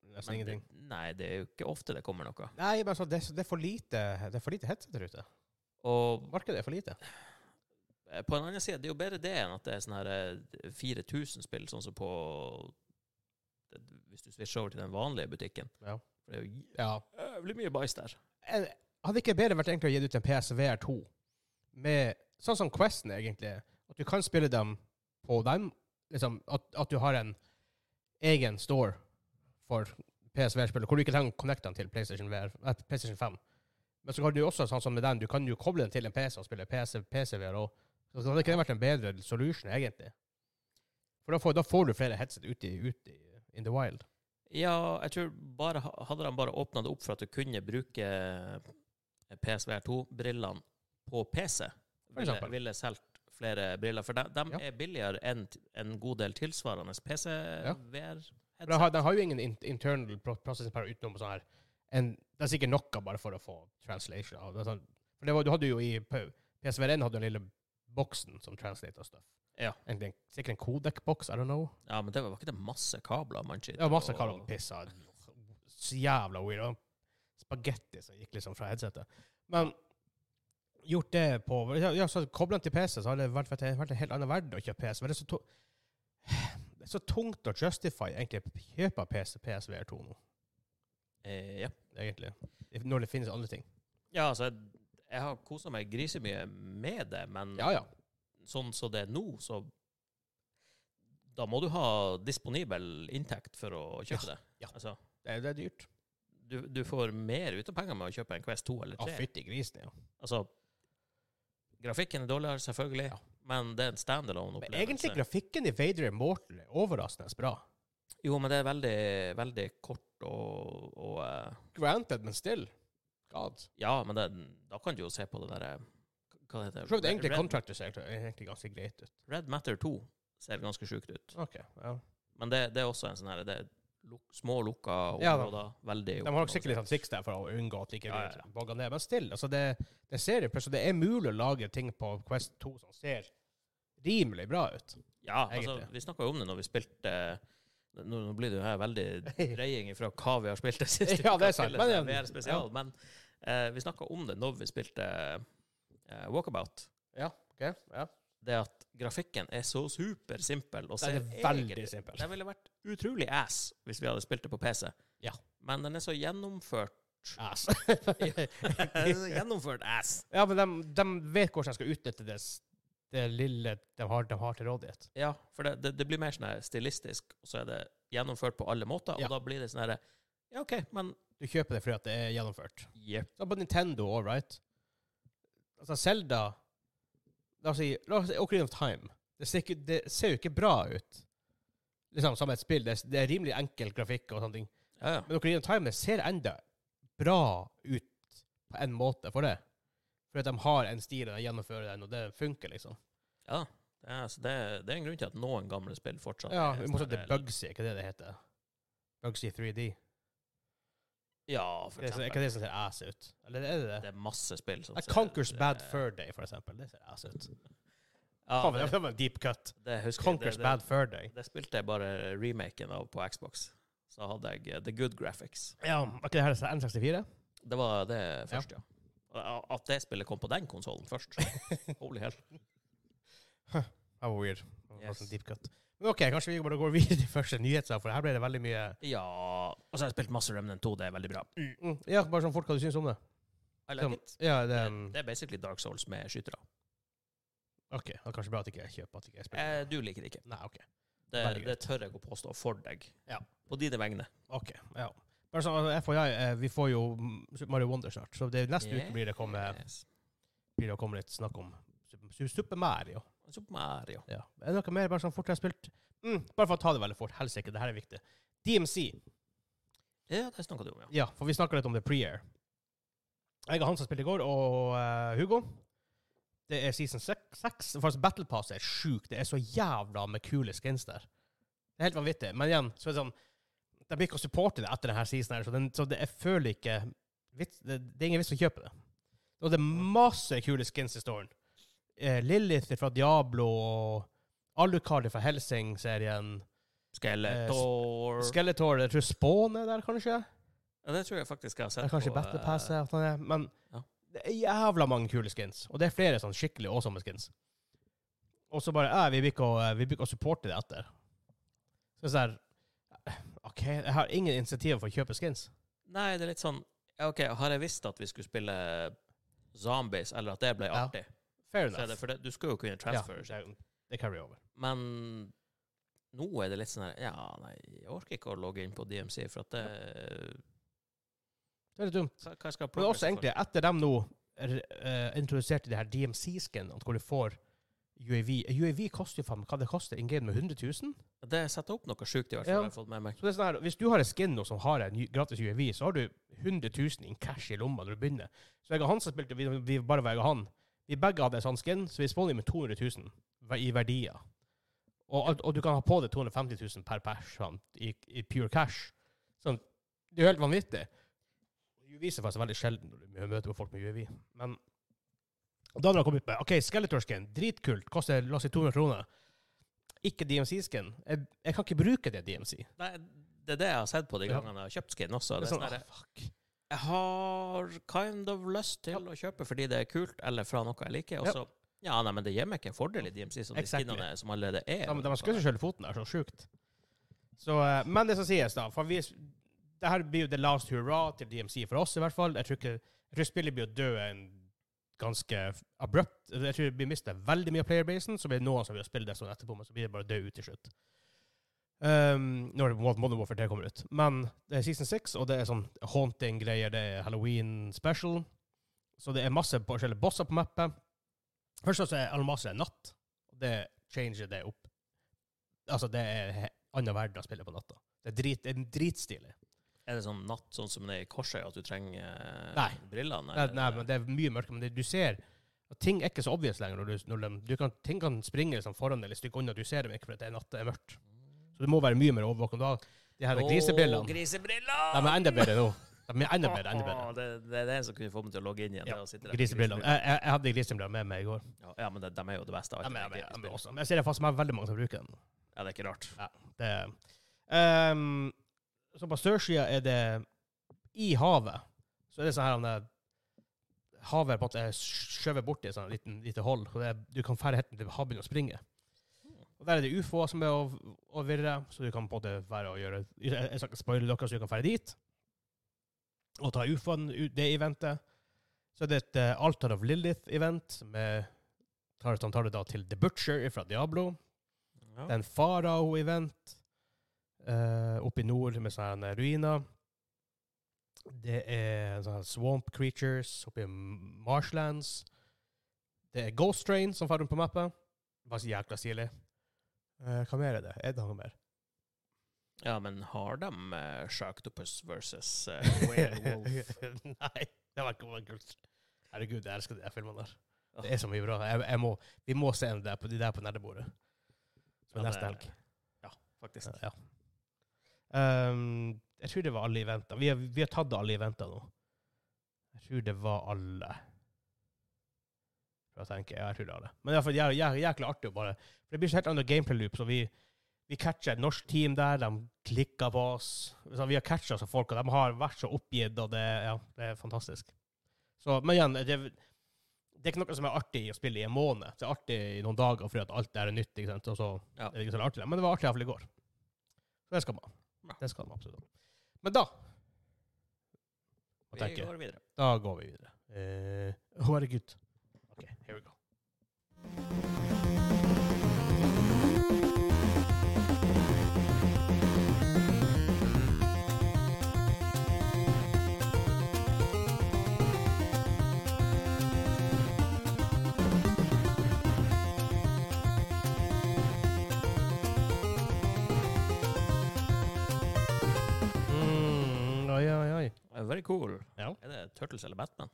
Speaker 1: Nesten
Speaker 2: men
Speaker 1: ingenting.
Speaker 2: det- Nei, det er jo ikke ofte det kommer noe.
Speaker 1: Nei, men altså, det, er- det er for lite Det er for lite headseter ute.
Speaker 2: Og
Speaker 1: Markedet er for
Speaker 2: [LAUGHS]
Speaker 1: lite.
Speaker 2: Eh, På den andre siden, det er jo bedre det enn at det er sånn her eh, 4000 spill, sånn som på det- Hvis du switcher over til den vanlige butikken.
Speaker 1: Ja.
Speaker 2: For det er jo
Speaker 1: Ja.
Speaker 2: jævlig mye bæsj der.
Speaker 1: En- Hadde ikke bedre vært egentlig å gi ut en PSVR2 med sånn som Questen, egentlig? At du kan spille dem på dem? Liksom, at, at du har en egen store for PSVR-spillet, hvor du ikke trenger å connecte den til PlayStation, VR, nei, PlayStation 5. Men så kan du også, sånn som med den, du kan jo koble den til en PC og spille PC, PCVR òg. Så hadde ikke det vært en bedre solution, egentlig? For da får, da får du flere headset ute i, ute i in the wild.
Speaker 2: Ja, jeg tror bare Hadde de bare åpna det opp for at du kunne bruke eh, PSVR2-brillene på PC, ville,
Speaker 1: eksempel.
Speaker 2: ville solgt flere briller. For de, de
Speaker 1: Ja.
Speaker 2: er billigere enn t- en god del tilsvarende
Speaker 1: Ja.
Speaker 2: PC-VR.
Speaker 1: For de har, de har jo ingen in internal pro- processing power utenom sånn her en, Det er sikkert noe bare for å få translation av det. er Sånn, for For det var, du hadde jo i PSVR1 hadde du den lille boksen som translate og stuff.
Speaker 2: Ja.
Speaker 1: En, en, sikkert en Kodek-boks, I don't know.
Speaker 2: Ja, men det var var ikke det masse kabler man
Speaker 1: Det var masse kaller det pissa. Så jævla weird. og Spagetti som gikk liksom fra headsetet. Men gjort det på ja, ja, så Koblet den til PC, så hadde det vært, vært, vært en helt annen verden å kjøpe PC. Men det er så, tu- [SIGHS] det er så tungt å justify egentlig kjøp av PC, PSVR2 nå,
Speaker 2: Eh, ja.
Speaker 1: egentlig. Når det finnes andre ting.
Speaker 2: ja, altså, jeg, jeg har kosa meg grisemye med det, men
Speaker 1: Ja, ja.
Speaker 2: sånn som det er nå, så Da må du ha disponibel inntekt for å kjøpe det.
Speaker 1: ja.
Speaker 2: Altså,
Speaker 1: Det, det er dyrt.
Speaker 2: du, du får mer ut av pengene med å kjøpe en Quest 2 eller
Speaker 1: Ja,
Speaker 2: 3.
Speaker 1: fytti grisen, ja.
Speaker 2: altså, grafikken er dårligere, selvfølgelig,
Speaker 1: Ja.
Speaker 2: men det er
Speaker 1: Men
Speaker 2: en
Speaker 1: egentlig,
Speaker 2: standalone-opplevelse.
Speaker 1: grafikken i Vader Immortal er overraskende bra.
Speaker 2: Jo, men det er veldig, veldig kort og, og eh,
Speaker 1: Granted, men still. God.
Speaker 2: Ja, men det, da kan du jo se på det derre Hva heter det?
Speaker 1: For så vidt, egentlig
Speaker 2: Red-
Speaker 1: Contractor ser egentlig ganske greit ut.
Speaker 2: Red Matter 2 ser ganske sjukt ut.
Speaker 1: Ok, ja.
Speaker 2: Men det, det er også en sånn her det er luk, små, lukka
Speaker 1: Ja,
Speaker 2: områder. veldig
Speaker 1: De har nok sikkert litt sånn triks der for å unngå at like
Speaker 2: Ja, ja,
Speaker 1: mye bogger ned. Men still, altså det, det ser jo plutselig Det er mulig å lage ting på Quest 2 som ser rimelig bra ut.
Speaker 2: Ja, altså,
Speaker 1: egentlig.
Speaker 2: vi snakka jo om det når vi spilte eh, Nå, nå blir det jo her
Speaker 1: [LAUGHS]
Speaker 2: veldig dreying fra hva vi har spilt det siste
Speaker 1: Ja, det er sant,
Speaker 2: Men,
Speaker 1: men ja.
Speaker 2: spesial, men eh, vi snakka om det når vi spilte eh, Walkabout.
Speaker 1: Ja, ok. Ja.
Speaker 2: Det at grafikken er så supersimpel. og
Speaker 1: Det er
Speaker 2: ser
Speaker 1: veldig
Speaker 2: egentlig-
Speaker 1: simpelt.
Speaker 2: Den ville vært utrolig ass hvis vi hadde spilt det på PC.
Speaker 1: Ja.
Speaker 2: Men den er
Speaker 1: [LAUGHS]
Speaker 2: så gjennomført
Speaker 1: Ass.
Speaker 2: Gjennomført ass.
Speaker 1: ja, men de, de vet hvordan de skal utnytte det, s- det lille de har, de har til rådighet.
Speaker 2: Ja, for det, det, det blir mer sånn her stilistisk, og så er det gjennomført på alle måter,
Speaker 1: Ja.
Speaker 2: og da blir det sånn her Ja, OK, men
Speaker 1: Du kjøper det fordi at det er gjennomført.
Speaker 2: Jepp.
Speaker 1: Så på Nintendo, all right. Altså, Zelda La oss si, la oss si Ocarina of Time. Det ser, ikke, det ser jo ikke bra ut. Liksom som et spill. Det, er- det er rimelig enkel grafikk og sånne ting.
Speaker 2: Ja, ja.
Speaker 1: Men Ocarina of Time ser enda bra ut på en måte for det. For at de har en stil, og de gjennomfører den, og det funker, liksom.
Speaker 2: ja. ja så det, det er en grunn til at noen gamle spill fortsatt
Speaker 1: Ja,
Speaker 2: er
Speaker 1: I
Speaker 2: sånn
Speaker 1: motsetning til
Speaker 2: her-
Speaker 1: Bugsy, hva er det det heter? Bugsy 3D.
Speaker 2: Ja, for
Speaker 1: Det er
Speaker 2: eksempel.
Speaker 1: ikke det som ser ass ut? Eller er det det?
Speaker 2: Det er masse spill som eh,
Speaker 1: A Conquers
Speaker 2: det-
Speaker 1: Bad Fur Day, for eksempel. Det ser ass ut.
Speaker 2: Ja,
Speaker 1: Faen,
Speaker 2: det,
Speaker 1: det var en deep cut.
Speaker 2: det husker jeg.
Speaker 1: Conquers
Speaker 2: Det-
Speaker 1: Bad Fur Day.
Speaker 2: Det, det spilte jeg bare remaken av på Xbox. Så hadde jeg eh, The Good Graphics.
Speaker 1: Ja, ok, det her er N64.
Speaker 2: Det var det først, ja. Og At det spillet kom på den konsollen
Speaker 1: [LAUGHS]
Speaker 2: først. Holy hell.
Speaker 1: Det var weird.
Speaker 2: Yes.
Speaker 1: Yes. Deep cut. Men ok, kanskje vi bare går [LAUGHS] videre til første nyhetssak, for her ble det veldig mye
Speaker 2: Ja Og så har jeg spilt masse Remnant 2, det er veldig bra.
Speaker 1: mm, Ja, bare sånn fort hva du syns om det.
Speaker 2: I like
Speaker 1: Som-
Speaker 2: it.
Speaker 1: Ja, det,
Speaker 2: Det,
Speaker 1: mm,
Speaker 2: det er basically Dark Souls med skytere.
Speaker 1: ok, det er kanskje bra at ikke jeg kjøper at ikke jeg spiller.
Speaker 2: Eh, du liker det ikke.
Speaker 1: Nei, ok.
Speaker 2: Det,
Speaker 1: Veldig greit.
Speaker 2: det tør jeg å påstå for deg.
Speaker 1: Ja.
Speaker 2: På dine vegne.
Speaker 1: Ok, ja. Bare sånn, altså, FYI, eh, vi får jo mm, Super Mario Wonder snart, så det, neste uke blir det, komme,
Speaker 2: Yes.
Speaker 1: blir det å komme litt snakk om Super- Super Mario.
Speaker 2: Super Mario.
Speaker 1: Ja. Er det noe mer bare sånn fort jeg har spilt? Mm, bare for å ta det veldig fort, helsike, det her er viktig. DMC.
Speaker 2: Ja, det snakka du om, ja.
Speaker 1: Ja, for vi snakka litt om The Pre-Air. Jeg og han som spilte i går, og eh, Hugo. Det er season 6. Faktisk altså, Battle Pass er sjukt. Det er så jævla med kule skins der. Det er helt vanvittig. Men igjen, så er det sånn De blir ikke å supporte det etter denne seasonen, her, så, den, så det er føler ikke vits, det, det er ingen vits å kjøpe det. Og det er masse kule skins i storen. Eh, Lilith fra Diablo og Alucard fra Helsing-serien. Eh,
Speaker 2: Skeletor
Speaker 1: Skeletor Jeg tror Spawn er der, kanskje?
Speaker 2: ja, Det tror jeg faktisk jeg har
Speaker 1: Det
Speaker 2: sett
Speaker 1: er kanskje
Speaker 2: på,
Speaker 1: Battle
Speaker 2: eh,
Speaker 1: Pass, at han er, men
Speaker 2: Ja.
Speaker 1: det er jævla mange kule skins. Og det er flere sånn skikkelig awesome skins. Og så bare eh, Vi blir ikke å, vi blir ikke å supporte det etter. Så det er sånn her, OK, jeg har ingen initiativ for å kjøpe skins.
Speaker 2: Nei, det er litt sånn ja, OK, har jeg visst at vi skulle spille Zombies, eller at det ble
Speaker 1: Ja.
Speaker 2: artig?
Speaker 1: Fair
Speaker 2: Så er det,
Speaker 1: enough.
Speaker 2: for det, du skal jo kunne transfer.
Speaker 1: Ja, det- det carry over.
Speaker 2: Men nå er det litt sånn her Ja, nei, jeg orker ikke å logge inn på DMC, for at det
Speaker 1: Det er litt dumt.
Speaker 2: Hva hva skal jeg
Speaker 1: Men
Speaker 2: progresse
Speaker 1: også egentlig, etter dem nå eh, introduserte de her DMC-skinene, hvor du får UAV UAV koster jo faen meg hva det koster in game med 100 000?
Speaker 2: for? Det setter opp noe sjukt, i hvert fall.
Speaker 1: Ja.
Speaker 2: Jeg har fått med meg.
Speaker 1: Så det er sånn her, Hvis du har en skin nå som har en ny- gratis UAV, så har du 100 000 in cash i lomma når du begynner. Så jeg og han som spilte, vi, vi bare var jeg og han. Vi begge hadde en sånn skin, så vi spawner med 200 000 ver- i verdier. Og, alt- og du kan ha på deg 250 000 per person i, i pure cash. Sånn, det er jo helt vanvittig. UAV er faktisk veldig sjelden når du møter folk med UAV. Men Og da når han kom ut med OK, Skeletor-skin, dritkult, koster la oss si 200 kroner. Ikke DMC-skin. Jeg, jeg kan ikke bruke det DMC. Det
Speaker 2: Nei, det er det jeg har sett på de
Speaker 1: Ja.
Speaker 2: gangene jeg har kjøpt skin også.
Speaker 1: er
Speaker 2: Det er
Speaker 1: sånn,
Speaker 2: sånn,
Speaker 1: ah,
Speaker 2: der,
Speaker 1: fuck.
Speaker 2: jeg har kind of lyst til å kjøpe fordi det er kult, eller fra noe jeg liker. Og
Speaker 1: Ja.
Speaker 2: så Ja, nei, men det gir meg ikke en fordel i DMC, som de
Speaker 1: Exactly.
Speaker 2: skinnene som allerede er.
Speaker 1: Ja,
Speaker 2: sånn
Speaker 1: men de skjøt seg selv i foten der, så sjukt. Så, eh, men det som sies, da for vi, Det her blir jo the last hurra til DMC for oss, i hvert fall. Jeg tror, ikke, jeg tror spillet blir å dø en ganske f- abrupt Jeg tror vi mister veldig mye av playerbasen, så blir det noen som vil spille det sånn etterpå, men så blir det bare å dø ut til slutt. Um, når Modern Warfare 3 kommer ut. Men det er season 6, og det er sånn haunting-greier, det er Halloween special. Så det er masse forskjellige bosser på mappet. Først og fremst er Almaser en natt. og Det changer det opp Altså, det er he- annen verden å spille på natta. Det er, drit, det er dritstilig.
Speaker 2: Er det sånn natt, sånn som det er i Korsøy, at du trenger eh,
Speaker 1: Nei.
Speaker 2: brillene?
Speaker 1: Nei,
Speaker 2: eller?
Speaker 1: nei, men det er mye mørkere, men det, du ser at ting er ikke så obvious lenger. Når du, når de, du kan, ting kan springe liksom, foran deg eller et stykke unna, du ser dem ikke fordi det er natt, det er mørkt. Så du må være mye mer overvåken. Da, de her
Speaker 2: Å,
Speaker 1: grisebrillene,
Speaker 2: grisebriller!
Speaker 1: de er enda bedre nå. De er enda bedre, enda
Speaker 2: Å,
Speaker 1: bedre.
Speaker 2: Det, det er det som kunne få meg til å logge inn igjen.
Speaker 1: Ja,
Speaker 2: det å sitte der med
Speaker 1: Grisebrillene. Jeg, jeg, jeg hadde grisebriller med meg i går.
Speaker 2: Ja, ja, men de, de er jo det beste. av
Speaker 1: De
Speaker 2: alt,
Speaker 1: er, de er,
Speaker 2: egentlig,
Speaker 1: de er
Speaker 2: spill.
Speaker 1: awesome. Jeg ser det fast meg veldig mange som bruker dem.
Speaker 2: Ja, det er ikke rart.
Speaker 1: Det, ehm, så på sørsida er det I havet så er det sånn her han er- Havet på en måte er skjøvet borti et sånn liten, lite hold. Og det er, du kan ferde helt til havet begynner å springe. Og Der er det ufoer som er å, å virre, så du kan på en måte være og gjøre Jeg jeg skal ikke spoile dere, så du kan ferde dit. Og ta ufoen, ut- det eventet. Så er det et eh, Altar of Lilith-event. med tar, Han tar det da til The Butcher fra Diablo.
Speaker 2: Ja.
Speaker 1: Det er en farao-event eh, oppe i nord med sånne eh, ruiner. Det er sånne swamp creatures oppe i marshlands. Det er Ghost Train som farer rundt på mappa. Bare så jækla stilig. Eh, hva mer er det? Er det noe [LAUGHS] mer?
Speaker 2: ja, men har de eh, Sharktopus versus eh,
Speaker 1: [LAUGHS]
Speaker 2: Werewolf?
Speaker 1: Nei, det var ikke noe kult. Herregud, jeg elsker de der filmene der. Det er så mye bra. Jeg, jeg må, vi må se en der på, de der på nerdebordet. Som er
Speaker 2: Ja, det-
Speaker 1: neste helg.
Speaker 2: Ja, faktisk.
Speaker 1: Ja. Ehm, jeg tror det var alle eventer. Vi har, vi har tatt alle eventer nå. Jeg tror det var alle. For å tenke, ja, jeg tror det var alle. Men det er for jæ- jæ- jækla artig å bare for Det blir så helt annet gameplay-loop, så vi, vi catcher et norsk team der, de klikker på oss. Så vi har catcha så folk, og de har vært så oppgitt, og det, ja, det er fantastisk. Så, men igjen, det, det er ikke noe som er artig å spille i en måned. Det er artig i noen dager fordi at alt det her er nytt, ikke sant. Og så
Speaker 2: Ja.
Speaker 1: er det ikke så artig. Men det var artig iallfall i går. Så det skal man.
Speaker 2: Bra.
Speaker 1: Det skal man absolutt. Men da Hva
Speaker 2: Vi
Speaker 1: tenker jeg?
Speaker 2: går videre.
Speaker 1: Da går vi videre. Eh, Å, herregud. OK, here we go. Mm, oi, oi, oi.
Speaker 2: Eh, Very cool.
Speaker 1: Ja.
Speaker 2: Er det Turtles eller Batman?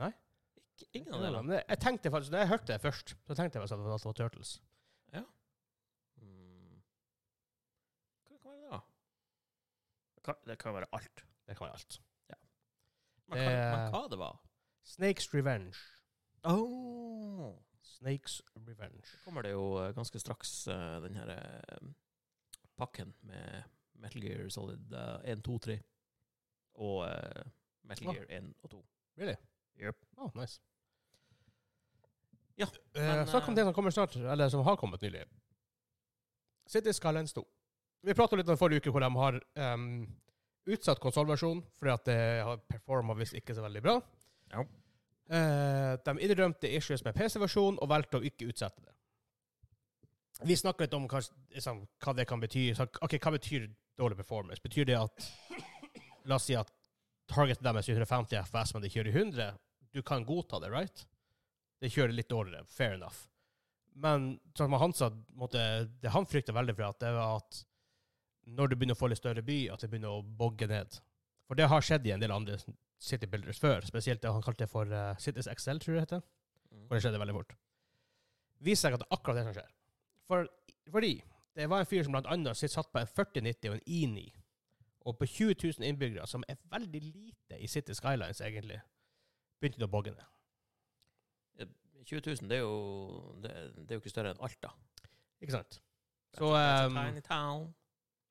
Speaker 1: Nei.
Speaker 2: Ikke, ingen av delene.
Speaker 1: Men jeg- jeg tenkte faktisk, Når jeg hørte det først, så tenkte jeg faktisk at det var- at det var Turtles.
Speaker 2: Mm. Hva kan være det, da? Det kan, det kan være alt.
Speaker 1: Det kan være alt.
Speaker 2: Men hva,
Speaker 1: Det-
Speaker 2: men hva det var?
Speaker 1: Snakes Revenge.
Speaker 2: Oh.
Speaker 1: Snakes Revenge.
Speaker 2: kommer det jo eh, ganske straks eh, den her eh, pakken med Metal Gear Solid eh, 1, 2, 3 og eh, Metal
Speaker 1: Ah.
Speaker 2: Gear 1 og 2.
Speaker 1: Really?
Speaker 2: Yep.
Speaker 1: Oh, nice.
Speaker 2: Ja,
Speaker 1: eh,
Speaker 2: men,
Speaker 1: Snakk om
Speaker 2: eh,
Speaker 1: det som kommer snart, eller som har kommet nylig. City Skylines 2. Vi prata litt om forrige uke hvor de har em, utsatt konsollversjonen fordi at det har performa visst ikke så veldig bra.
Speaker 2: Ja.
Speaker 1: Eh, de innrømte issues med PC-versjonen og valgte å ikke utsette det. Vi snakka litt om hva, liksom, hva det kan bety. Så, ok, Hva betyr dårlig performance? Betyr det at La oss si at targetet deres er 150 FS, men de kjører i 100. Du kan godta det, right? Det kjører litt dårligere. Fair enough. Men sånn som han sa, måtte, det han frykter veldig for, at det var at når du begynner å få litt større by, at det begynner å bogge ned. For det har skjedd i en del andre City Builders før, spesielt det han kalte det for eh, Cities XL, tror jeg det heter.
Speaker 2: mm,
Speaker 1: Og det skjedde veldig fort. Viser seg at det er akkurat det som skjer. For, fordi det var en fyr som blant annet sitt- satt på en 4090 og en i9, og på 20 000 innbyggere, som er veldig lite i City Skylines, egentlig, begynte det å bogge ned.
Speaker 2: eh, 20 000, det er jo, det, det er jo ikke større enn Alta.
Speaker 1: Ikke sant?
Speaker 2: That's
Speaker 1: Så,
Speaker 2: a- that's a
Speaker 1: ehm,
Speaker 2: tiny town.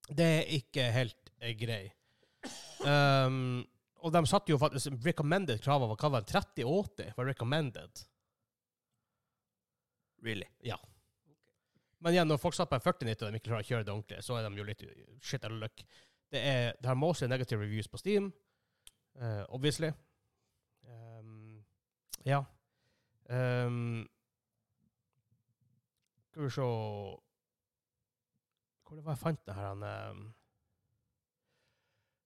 Speaker 1: Det er ikke helt eh, grei. Ehm, og de satte jo faktisk recommended kravet var hva var det, 3080 var recommended.
Speaker 2: Really.
Speaker 1: Men igjen, når folk satt på en 4090 og de ikke klarer å kjøre det ordentlig, så er de jo litt eh, shit out of luck. Det, er, det har mostly negative reviews på Steam, eh, obviously. Ehm, ja. Ehm, skal vi se Hvor det var jeg fant det her han, ehm.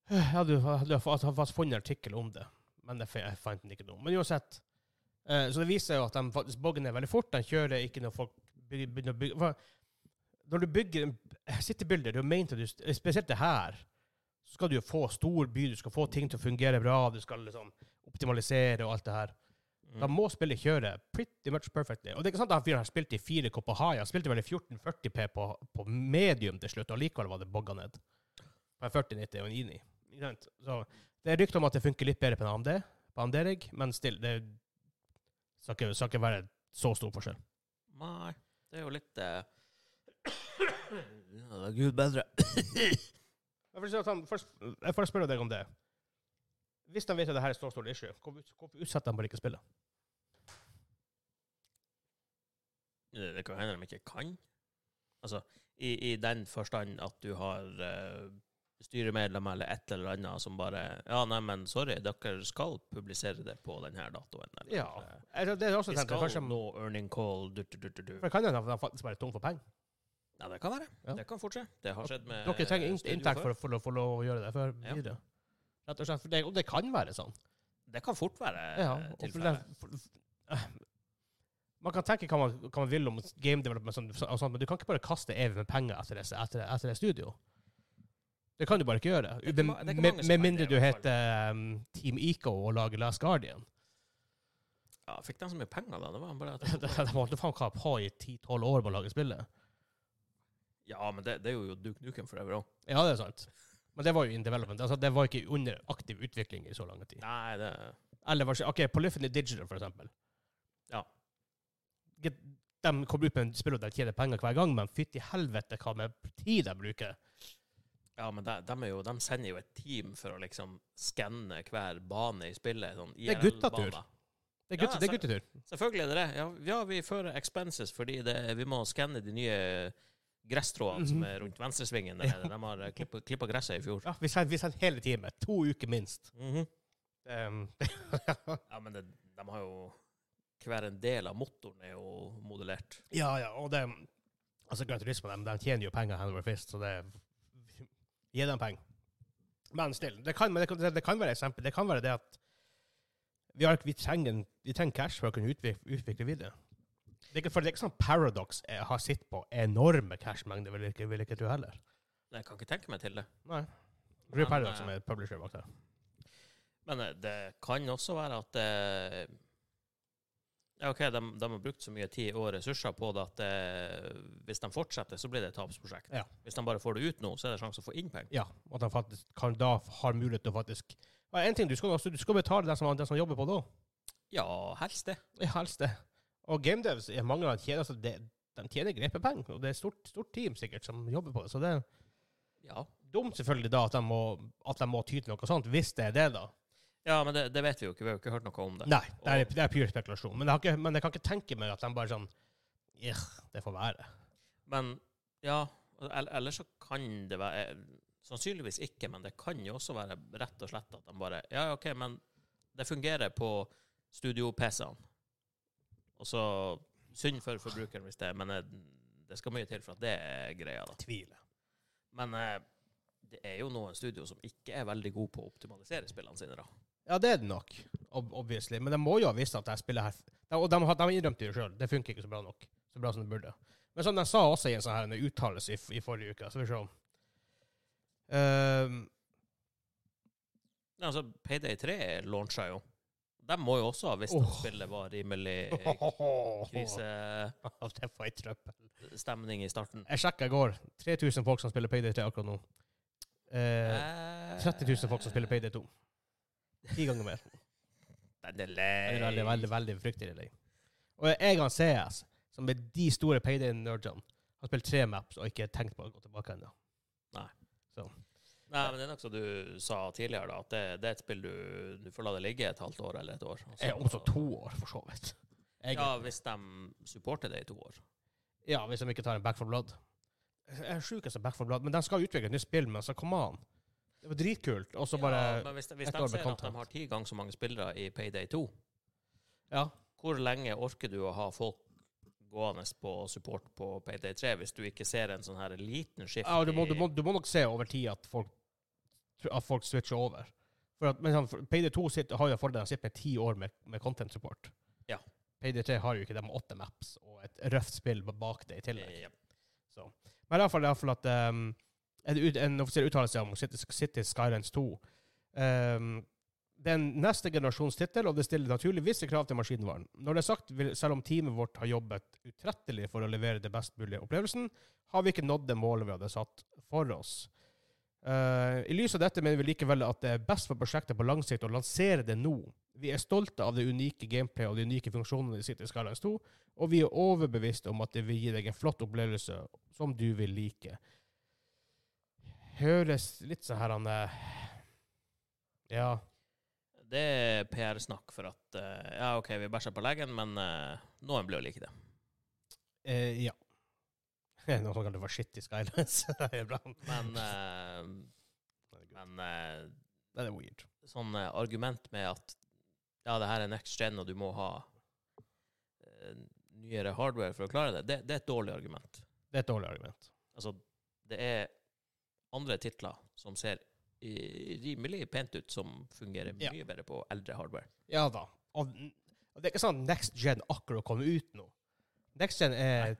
Speaker 1: Jeg hadde jo- hadde jo fast- hadde fast funnet en artikkel om det, men jeg, fa- jeg fant den ikke nå. Men uansett. eh, så det viser jo at de faktisk bogger ned veldig fort. De kjører ikke når folk begy- begynner å bygge for Når du bygger en citybuilder, du er ment at du Spesielt det her, så skal du jo få stor by, du skal få ting til å fungere bra, du skal liksom optimalisere og alt det her. Da
Speaker 2: Mm.
Speaker 1: må spillet kjøre pretty much perfectly. Og det er ikke sant at han fyren her spilte i 4K på high. Han spilte vel i 1440P på, på medium til slutt, og likevel var det bogga ned. På en 4090 og en INI. Ikke sant? Så det er rykter om at det funker litt bedre på en AMD, på AMD-rigg, men still, det skal ikke, skal ikke være så stor forskjell.
Speaker 2: Nei, det er jo litt eh, ja, det er Gud bedre. [COUGHS]
Speaker 1: Jeg får, si sånn at han, først, jeg får spørre deg om det. Hvis de vet at det her er så stort issue, hvorfor hvorfor utsetter de bare ikke spillet?
Speaker 2: Det det kan hende de ikke kan. Altså, i, i den forstand at du har eh, styremedlemmer eller et eller annet som bare Ja, nei, men sorry, dere skal publisere det på denne datoen. Eller,
Speaker 1: Ja.
Speaker 2: eh,
Speaker 1: Altså, det er også
Speaker 2: Vi
Speaker 1: tenkt,
Speaker 2: skal
Speaker 1: først, de-
Speaker 2: nå earning call du, du, du, du, du.
Speaker 1: for det kan hende at de faktisk bare er tom for penger.
Speaker 2: Ja, det kan være.
Speaker 1: Ja.
Speaker 2: Det kan fortsette. Det har skjedd med
Speaker 1: Dere trenger
Speaker 2: eh,
Speaker 1: in
Speaker 2: studio
Speaker 1: inntekt
Speaker 2: før.
Speaker 1: for å få lov- få lov å gjøre det for
Speaker 2: Ja.
Speaker 1: videre. Rett og slett. For det, og det kan være sånn.
Speaker 2: Det kan fort være
Speaker 1: Ja,
Speaker 2: eh,
Speaker 1: og for det,
Speaker 2: tilfellet.
Speaker 1: for, eh, man kan tenke hva man, hva man vil om game development, og sånt, og sånt, men du kan ikke bare kaste evig med penger etter det, etter, etter det studio. Det kan du bare ikke gjøre.
Speaker 2: Det er ikke ma- det er
Speaker 1: med,
Speaker 2: ikke mange
Speaker 1: med,
Speaker 2: som
Speaker 1: med
Speaker 2: kan
Speaker 1: mindre
Speaker 2: det, i
Speaker 1: du
Speaker 2: hvert
Speaker 1: heter um, Team Eco og lager Last Guardian. [LAUGHS]
Speaker 2: Ja, fikk de så mye penger, da? Det var bare
Speaker 1: [LAUGHS] De
Speaker 2: at
Speaker 1: holdt faen hva på i 10-12 år med å lage spillet.
Speaker 2: Ja, men det, det er jo Duke Nukem forever òg.
Speaker 1: Ja, det er sant. Men det var jo in development. Altså, det var ikke under aktiv utvikling i så lang tid.
Speaker 2: Nei, det
Speaker 1: Eller hva skjer? OK, Polyphony Digital, for eksempel.
Speaker 2: Ja.
Speaker 1: Get- De kommer ut med en spill og de tjener penger hver gang, men fytti helvete hva med tid de bruker.
Speaker 2: Ja, men de, de, er jo, de sender jo et team for å liksom skanne hver bane i spillet. Sånn
Speaker 1: er guttatur.
Speaker 2: IRL-baner.
Speaker 1: Det er,
Speaker 2: Ja,
Speaker 1: gutt, det er
Speaker 2: så-
Speaker 1: guttetur.
Speaker 2: Selvfølgelig er det det. Ja, ja vi fører expenses fordi det, vi må skanne de nye gresstrådene
Speaker 1: Mhm.
Speaker 2: som er rundt venstresvingen. Der.
Speaker 1: Ja.
Speaker 2: nede. De har klippa, klippa gresset i fjor.
Speaker 1: Ja, vi sender, vi sender hele teamet. To uker minst.
Speaker 2: Mhm.
Speaker 1: Um,
Speaker 2: Ja, men det, de har jo Hver en del av motoren er jo modellert.
Speaker 1: ja, ja, og det Altså, Gran Turismo, de, de tjener jo penger hand over fist, så det [LAUGHS] Gi dem penger. Men still, det kan, men det, kan- det kan være eksempel. Det kan være det at vi, har, ikke- vi, trenger, en- vi trenger cash for å kunne utvikle, utvikle videre. Det er ikke, for det er ikke sånn Paradox eh, har sitt på enorme cashmengder, vil jeg ikke, vil jeg ikke tro heller.
Speaker 2: Jeg kan ikke tenke meg til det.
Speaker 1: Nei. Det er
Speaker 2: Men,
Speaker 1: Paradox
Speaker 2: eh,
Speaker 1: som er publisher bak der.
Speaker 2: Men eh, det kan også være at eh, Ja, OK, de, de har brukt så mye tid og ressurser på det at eh, hvis de fortsetter, så blir det et tapsprosjekt.
Speaker 1: Ja.
Speaker 2: Hvis de bare får det ut nå, så er det sjanse å få inn penger.
Speaker 1: Ja, og at de faktisk kan da har mulighet til å faktisk ja, En ting, du skal, også, du skal betale den som, den som jobber på da.
Speaker 2: Ja, helst det.
Speaker 1: Ja, helst det. Og GameDevs, jeg mangler en tjener, altså det, de tjener grepepeng, og det er et stort, stort team sikkert som jobber på det, så det er
Speaker 2: Ja,
Speaker 1: dumt selvfølgelig da at de må, at de må ty til noe sånt, hvis det er det da.
Speaker 2: ja men det, det vet vi jo ikke. Vi har jo ikke hørt noe om det.
Speaker 1: Nei, det er, det er pure spekulasjon, men jeg, har ikke, men jeg kan ikke tenke meg at de bare sånn, «Ih, det får være.
Speaker 2: Men ja, el- ellers så kan det være eh, Sannsynligvis ikke, men det kan jo også være rett og slett at de bare Ja, OK, men det fungerer på studio-PC-ene. Og så Synd for forbrukeren hvis det Men eh, det skal mye til for at det er greia, da.
Speaker 1: Tvile.
Speaker 2: Men eh, det er jo noen studio som ikke er veldig gode på å optimalisere spillene sine, da.
Speaker 1: Ja, det er det nok, ob obviously. Men de må jo ha visst at jeg spiller her. De, og de, har- de innrømte jo sjøl, det funker ikke så bra nok. Så bra som det burde. Men som de sa også i en sånn her en uttalelse i, f- i forrige uke, så vi ser om Ehm,
Speaker 2: Nei, altså, Payday 3 launcha jo. De må jo også ha visst at
Speaker 1: Åh.
Speaker 2: spillet var
Speaker 1: [LAUGHS]
Speaker 2: rimelig
Speaker 1: ehm,
Speaker 2: [LAUGHS] krisestemning
Speaker 1: Det var ei trøbbel.
Speaker 2: i starten.
Speaker 1: Jeg sjekka i går. 3000 folk som spiller Payday 3 akkurat nå. Eh, 30 000 folk som spiller Payday 2. Ti ganger mer.
Speaker 2: Den
Speaker 1: Det
Speaker 2: er
Speaker 1: er veldig,
Speaker 2: lei.
Speaker 1: veldig veldig fryktelig lei. Og jeg har CS, som er de store payday-nerdene, har spilt tre maps og ikke tenkt på å gå tilbake ennå.
Speaker 2: Nei, men det er nok som du sa tidligere, da, at det, det er et spill du, du får la det ligge et halvt år eller et år. og så-
Speaker 1: Jeg er også to år, for så vidt. Jeg,
Speaker 2: Ja, hvis de supporter det i to år.
Speaker 1: Ja, hvis de ikke tar en Back for Blood. Jeg er sjuk etter Back for Blood, men de skal utvikle et nytt spill, men så come on. Det var dritkult, og så bare
Speaker 2: ja, men hvis, de- hvis
Speaker 1: ett
Speaker 2: de
Speaker 1: år med
Speaker 2: ser at de
Speaker 1: content.
Speaker 2: har ti ganger så mange spillere i Payday 2,
Speaker 1: Ja.
Speaker 2: hvor lenge orker du å ha folk gående på support på Payday 3 hvis du ikke ser en sånn her liten skift
Speaker 1: ja og du, må,
Speaker 2: i-
Speaker 1: du, må, du må nok se over tid at folk, at folk switcher over. For at, men sånn, PD2 sitter, har jo en fordel av å sitte med ti år med, med content support.
Speaker 2: Ja.
Speaker 1: PD3 har jo ikke det med åtte maps og et røft spill bak det i tillegg.
Speaker 2: Ja.
Speaker 1: Men i hvert fall, i hvert fall at ehm, en, ut- en offisiell uttalelse om City, City Skylines 2 ehm, Det er en neste generasjons tittel, og det stiller naturlig visse krav til maskinvaren. Når det er sagt, vil, selv om teamet vårt har jobbet utrettelig for å levere det best mulige opplevelsen, har vi ikke nådd det målet vi hadde satt for oss. Eh, I lys av dette mener vi likevel at det er best for prosjektet på lang sikt å lansere det nå. Vi er stolte av det unike gameplayet og de unike funksjonene i City Skylines 2, og vi er overbevist om at det vil gi deg en flott opplevelse som du vil like. Høres litt sånn her han eh, Ja.
Speaker 2: Det er PR-snakk for at eh, Ja, OK, vi bæsja på legen, men eh, noen blir jo like det.
Speaker 1: Eh, ja. [LAUGHS] Noen som kaller det for shitty [LAUGHS] skylines. det er bra. [LAUGHS]
Speaker 2: Men, eh, men eh,
Speaker 1: Det er weird.
Speaker 2: sånn eh, argument med at ja, det her er next gen, og du må ha eh, nyere hardware for å klare det, det, det er et dårlig argument.
Speaker 1: Det er et dårlig argument.
Speaker 2: Altså, det er andre titler som ser i- rimelig pent ut, som fungerer
Speaker 1: Ja.
Speaker 2: mye bedre på eldre hardware.
Speaker 1: Ja da. Og, og det er ikke sånn at Next Gen akkurat kommer ut nå. Next Gen er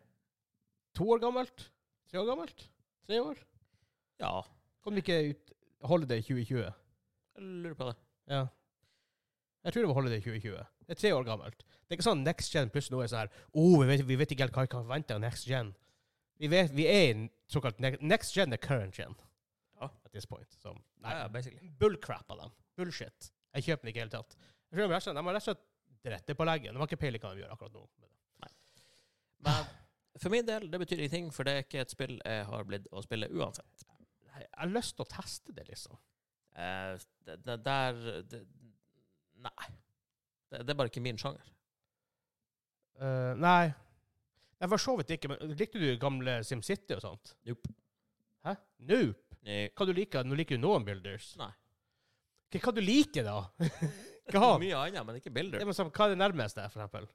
Speaker 1: to år gammelt. Tre år gammelt. Tre år.
Speaker 2: Ja,
Speaker 1: Kom det ikke ut Holiday 2020?
Speaker 2: jeg lurer på det.
Speaker 1: Ja. Jeg tror det var Holiday 2020. Det er tre år gammelt. Det er ikke sånn Next Gen plutselig nå er sånn her oh, vi, vet, vi vet ikke helt hva vi kan forvente av Next Gen. Vi, vet, vi er i en såkalt ne Next Gen er current gen.
Speaker 2: Ja.
Speaker 1: At this point. Så, nei,
Speaker 2: Ja, basically.
Speaker 1: bullcrap av dem. Bullshit. Jeg kjøper den ikke i hele tatt. Jeg tror de, rett og slett- de har rett og slett drette på leggen. De har ikke peiling hva de gjør akkurat nå. med det.
Speaker 2: Men for min del, det betyr ingenting, for det er ikke et spill jeg har blitt å spille uansett.
Speaker 1: Nei, Jeg har lyst til å teste det, liksom.
Speaker 2: Eh, det, det der det, Nei. Det, det er bare ikke min sjanger.
Speaker 1: Eh, nei. Nei, for så vidt ikke. Men likte du gamle SimCity og sånt?
Speaker 2: Nope.
Speaker 1: Hæ? Nope.
Speaker 2: Nei.
Speaker 1: Hva du liker? Nå liker du noen builders.
Speaker 2: Nei.
Speaker 1: Hva, hva du liker,
Speaker 2: [LAUGHS]
Speaker 1: da? hva?
Speaker 2: Mye annet, men ikke
Speaker 1: Ja,
Speaker 2: Builder.
Speaker 1: men, så, hva er det nærmeste, for eksempel?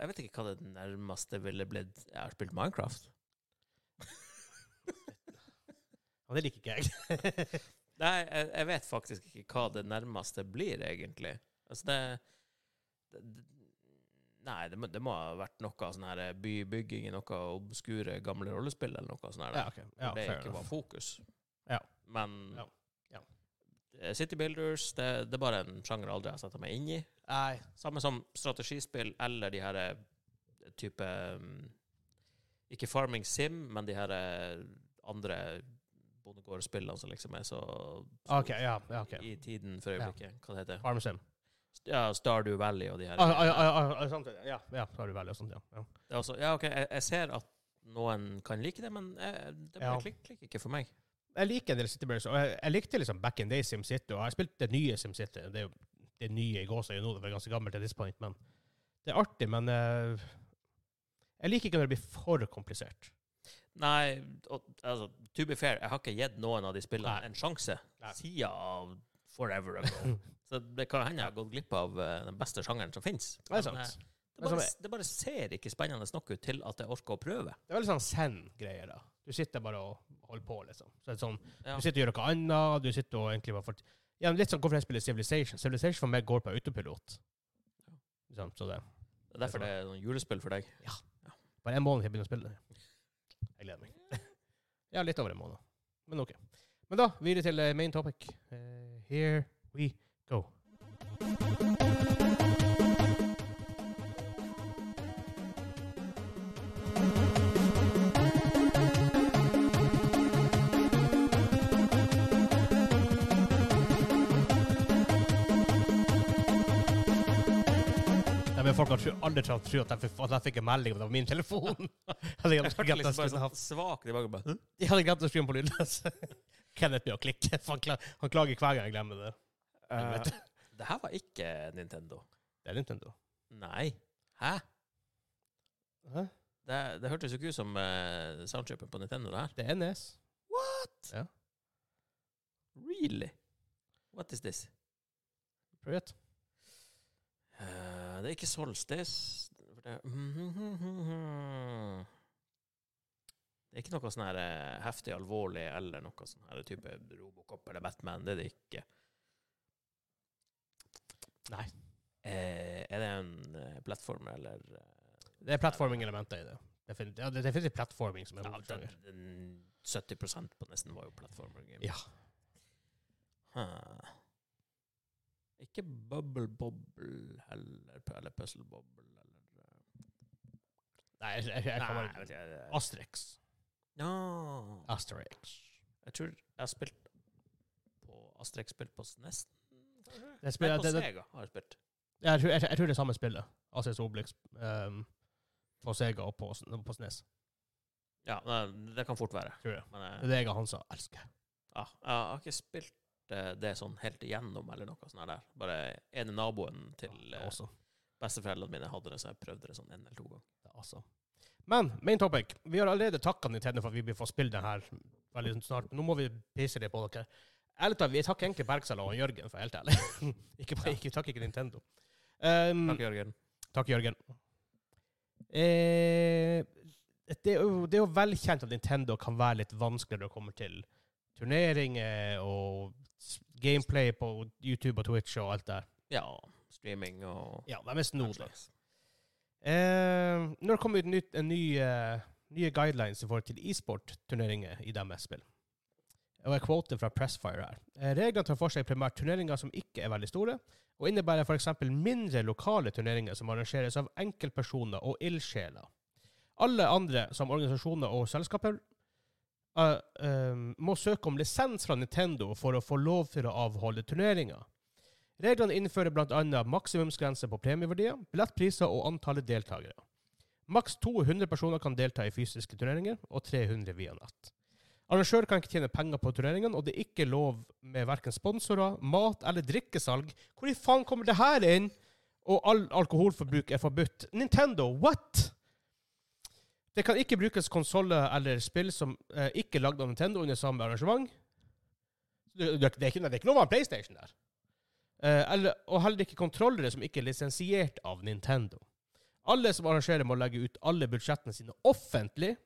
Speaker 2: Jeg vet ikke hva det nærmeste ville blitt. Jeg har spilt
Speaker 1: [LAUGHS]
Speaker 2: Minecraft.
Speaker 1: Ja, det liker ikke
Speaker 2: [LAUGHS]
Speaker 1: jeg.
Speaker 2: Nei, jeg, jeg vet faktisk ikke hva det nærmeste blir, egentlig. Altså, det, det, det Nei, det må, det må ha vært noe sånn her bybygging i noe obskure gamle rollespill eller noe sånt. her.
Speaker 1: ja, ok. Ja,
Speaker 2: hvor det
Speaker 1: fair
Speaker 2: ikke var
Speaker 1: enough.
Speaker 2: fokus.
Speaker 1: Ja.
Speaker 2: Men
Speaker 1: Ja. Ja.
Speaker 2: eh, City Builders det, det er bare en sjanger jeg aldri har satt meg inn i.
Speaker 1: Nei.
Speaker 2: Samme som strategispill eller de her eh, type mm, Ikke Farming Sim, men de her eh, andre bondegårdsspillene som liksom er så, så
Speaker 1: OK, ja. ja ok.
Speaker 2: i tiden for øyeblikket. Hva det heter
Speaker 1: Farmsim.
Speaker 2: Ja, Stardew Valley og de her.
Speaker 1: Ah, ah, ah, ah, ah, samtidig. Ja, ja, så har du veldig og sånt, ja. ja.
Speaker 2: Det er også, ja, OK, jeg, jeg ser at noen kan like det, men eh, det
Speaker 1: Ja.
Speaker 2: bare klikk- klikker ikke for meg.
Speaker 1: Jeg liker en del City Builders, og jeg, jeg likte liksom Back in Day SimCity, og jeg har spilt det nye SimCity. Det er jo det nye i gåsa nå, det var ganske gammelt til this point, men det er artig, men eh, jeg liker ikke når det blir for komplisert.
Speaker 2: Nei, og, altså, to be fair, jeg har ikke gitt noen av de spillene
Speaker 1: Nei.
Speaker 2: en sjanse
Speaker 1: Nei.
Speaker 2: siden av
Speaker 1: [LAUGHS]
Speaker 2: Forever Ago. Så det kan hende jeg har gått glipp av eh, den beste sjangeren som eh, fins.
Speaker 1: Det er sant.
Speaker 2: Det
Speaker 1: Men
Speaker 2: bare,
Speaker 1: som
Speaker 2: det bare ser ikke spennende nok ut til at jeg orker å prøve.
Speaker 1: Det er veldig sånn zen-greier, da. Du sitter bare og holder på, liksom. Så det er sånn,
Speaker 2: Ja.
Speaker 1: Du sitter og gjør noe annet, du sitter og egentlig bare fort... Ja, men litt sånn hvorfor jeg spiller Civilization. Civilization for meg går på autopilot. Ikke sant, så det.
Speaker 2: Det er derfor det er noen julespill for deg.
Speaker 1: Bare en måned til jeg begynner å spille det. Jeg gleder meg. ja, litt over en måned. Men ok. Men da, videre til eh, main topic. Eh, here we go. De er med folk at tro- alle tror tror at jeg, fikk- at jeg fikk en melding om det var min telefon. [LAUGHS] Altså, Jeg hadde
Speaker 2: Jeg
Speaker 1: glemt
Speaker 2: hørte
Speaker 1: at jeg
Speaker 2: liksom bare
Speaker 1: skulle ha
Speaker 2: sånn svak tilbake. Bare, «Hm?»
Speaker 1: Jeg hadde glemt å skru den på lydløs. [LAUGHS] Kenneth blir å klikke. for Han klager, han klager hver gang jeg glemmer det.
Speaker 2: Eh,
Speaker 1: vet
Speaker 2: det her var ikke Nintendo.
Speaker 1: Det er Nintendo.
Speaker 2: Nei. Hæ?
Speaker 1: Hæ?
Speaker 2: Det, det hørtes jo ikke ut som uh, soundchipen på Nintendo, det her.
Speaker 1: Det er E NES.
Speaker 2: What?
Speaker 1: Ja.
Speaker 2: Really? What is this?
Speaker 1: Prøv det.
Speaker 2: Eh, det er ikke Solstice. Det [LAUGHS] er, det er ikke noe sånn her eh, heftig alvorlig eller noe sånn her type Robocop eller Batman. Det er det ikke.
Speaker 1: Nei.
Speaker 2: Eh, er det en eh, plattform eller eh,
Speaker 1: Det er platforming-elementer i det. Det finnes, ja, det, det finnes platforming som er
Speaker 2: ja, den,
Speaker 1: hovedsjanger.
Speaker 2: den 70 på nesten var jo plattformer. Game.
Speaker 1: Ja.
Speaker 2: Huh. Ikke Bubble Bobble heller, eller Puzzle Bobble eller eh,
Speaker 1: Nei, jeg, jeg, jeg kan
Speaker 2: Nei,
Speaker 1: bare
Speaker 2: vet ikke, jeg-
Speaker 1: Asterix.
Speaker 2: Ja.
Speaker 1: Asterix.
Speaker 2: Jeg tror jeg har spilt på Asterix spilt på SNES.
Speaker 1: Det
Speaker 2: Nei,
Speaker 1: spiller,
Speaker 2: på
Speaker 1: det, det,
Speaker 2: Sega har jeg spilt.
Speaker 1: jeg, tror, jeg, tror- jeg tror det er samme spillet. Asterix og Obelix ehm, på Sega og på, på Snes.
Speaker 2: Ja, nei, det kan fort være.
Speaker 1: Tror jeg.
Speaker 2: Men
Speaker 1: Det er
Speaker 2: jeg,
Speaker 1: det jeg og Hansa elsker.
Speaker 2: ja, jeg har ikke spilt eh, det sånn helt igjennom eller noe sånt her der. Bare ene naboen til eh,
Speaker 1: Også.
Speaker 2: besteforeldrene mine hadde det, så jeg prøvde det sånn en eller to ganger.
Speaker 1: Det er awesome. Men main topic. Vi har allerede takka Nintendo for at vi blir få spille den her veldig snart. Nå må vi pisse litt på dere. Ærlig talt, vi takker egentlig Bergsala og Jørgen, for å være helt ærlig. [LAUGHS] ikke bare, ikke, takk ikke Nintendo. Um,
Speaker 2: Takk, Jørgen.
Speaker 1: Takk, Jørgen. Eh, det, er jo, det er jo velkjent at Nintendo kan være litt vanskeligere når det kommer til turneringer og s- gameplay på YouTube og Twitch og alt der.
Speaker 2: Ja, streaming og
Speaker 1: Ja, de er snodige.
Speaker 2: slags.
Speaker 1: Eh, når det kommer ut nytt, en ny, eh, nye guidelines i forhold til e-sport-turneringer i deres spill Og jeg quoter fra Pressfire her. Eh, reglene tar for seg primært turneringer som ikke er veldig store, og innebærer f.eks. mindre lokale turneringer som arrangeres av enkeltpersoner og ildsjeler. Alle andre, som organisasjoner og selskaper, eh, eh, må søke om lisens fra Nintendo for å få lov til å avholde turneringer. Reglene innfører bl.a. maksimumsgrense på premieverdier, billettpriser og antallet deltakere. Maks 200 personer kan delta i fysiske turneringer, og 300 via nett. Arrangør kan ikke tjene penger på turneringene, og det er ikke lov med verken sponsorer, mat eller drikkesalg. Hvor i faen kommer det her inn? Og all alkoholforbruk er forbudt. Nintendo, what?! Det kan ikke brukes konsoller eller spill som eh, ikke er lagd av Nintendo under samme arrangement. Det, det, det, er, ikke, det er ikke noe av en PlayStation der. Eh, eller, og heller ikke kontrollere som ikke er lisensiert av Nintendo. Alle som arrangerer, må legge ut alle budsjettene sine offentlig,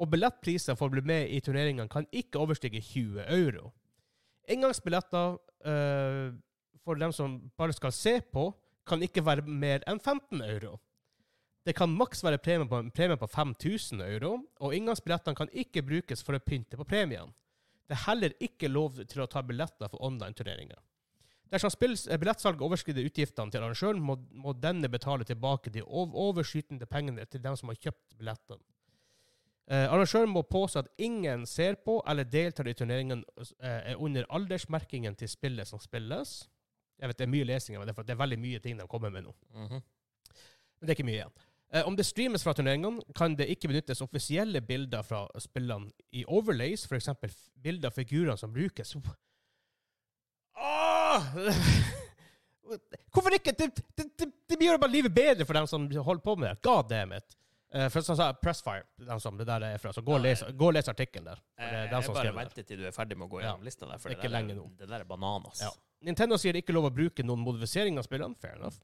Speaker 1: og billettpriser for å bli med i turneringene kan ikke overstige 20 euro. Engangsbilletter eh, for dem som bare skal se på, kan ikke være mer enn 15 euro. Det kan maks være premie på, premie på 5000 euro, og inngangsbillettene kan ikke brukes for å pynte på premien. Det er heller ikke lov til å ta billetter for online-turneringer. Dersom spills- eh, billettsalget overskrider utgiftene til arrangøren, må, må denne betale tilbake de ov overskytende pengene til dem som har kjøpt billetten. Eh, arrangøren må påse at ingen ser på eller deltar i turneringen eh, er under aldersmerkingen til spillet som spilles. Jeg vet det er mye lesing, men det er, for, det er veldig mye ting de kommer med nå.
Speaker 2: Mhm.
Speaker 1: Men det er ikke mye igjen. Eh, om det streames fra turneringene, kan det ikke benyttes offisielle bilder fra spillene i overlays, f.eks. bilder av figurene som brukes. Åh! [LAUGHS] Hvorfor ikke? Det, det, det, det gjør bare livet bedre for dem som holder på med det. God damn it. Eh, for som sa, Pressfire, dem som det der er fra. Så gå og les, gå og les artikkelen der. For Det
Speaker 2: Eh,
Speaker 1: er dem
Speaker 2: Jeg
Speaker 1: som
Speaker 2: bare
Speaker 1: skriver det.
Speaker 2: venter til du er ferdig med å gå
Speaker 1: Ja.
Speaker 2: gjennom lista der, for
Speaker 1: Det er
Speaker 2: det,
Speaker 1: ikke
Speaker 2: der,
Speaker 1: lenge
Speaker 2: er-
Speaker 1: nå.
Speaker 2: det der er bananas.
Speaker 1: Ja. Nintendo sier ikke lov å bruke noen modifisering av spillene. Fair enough.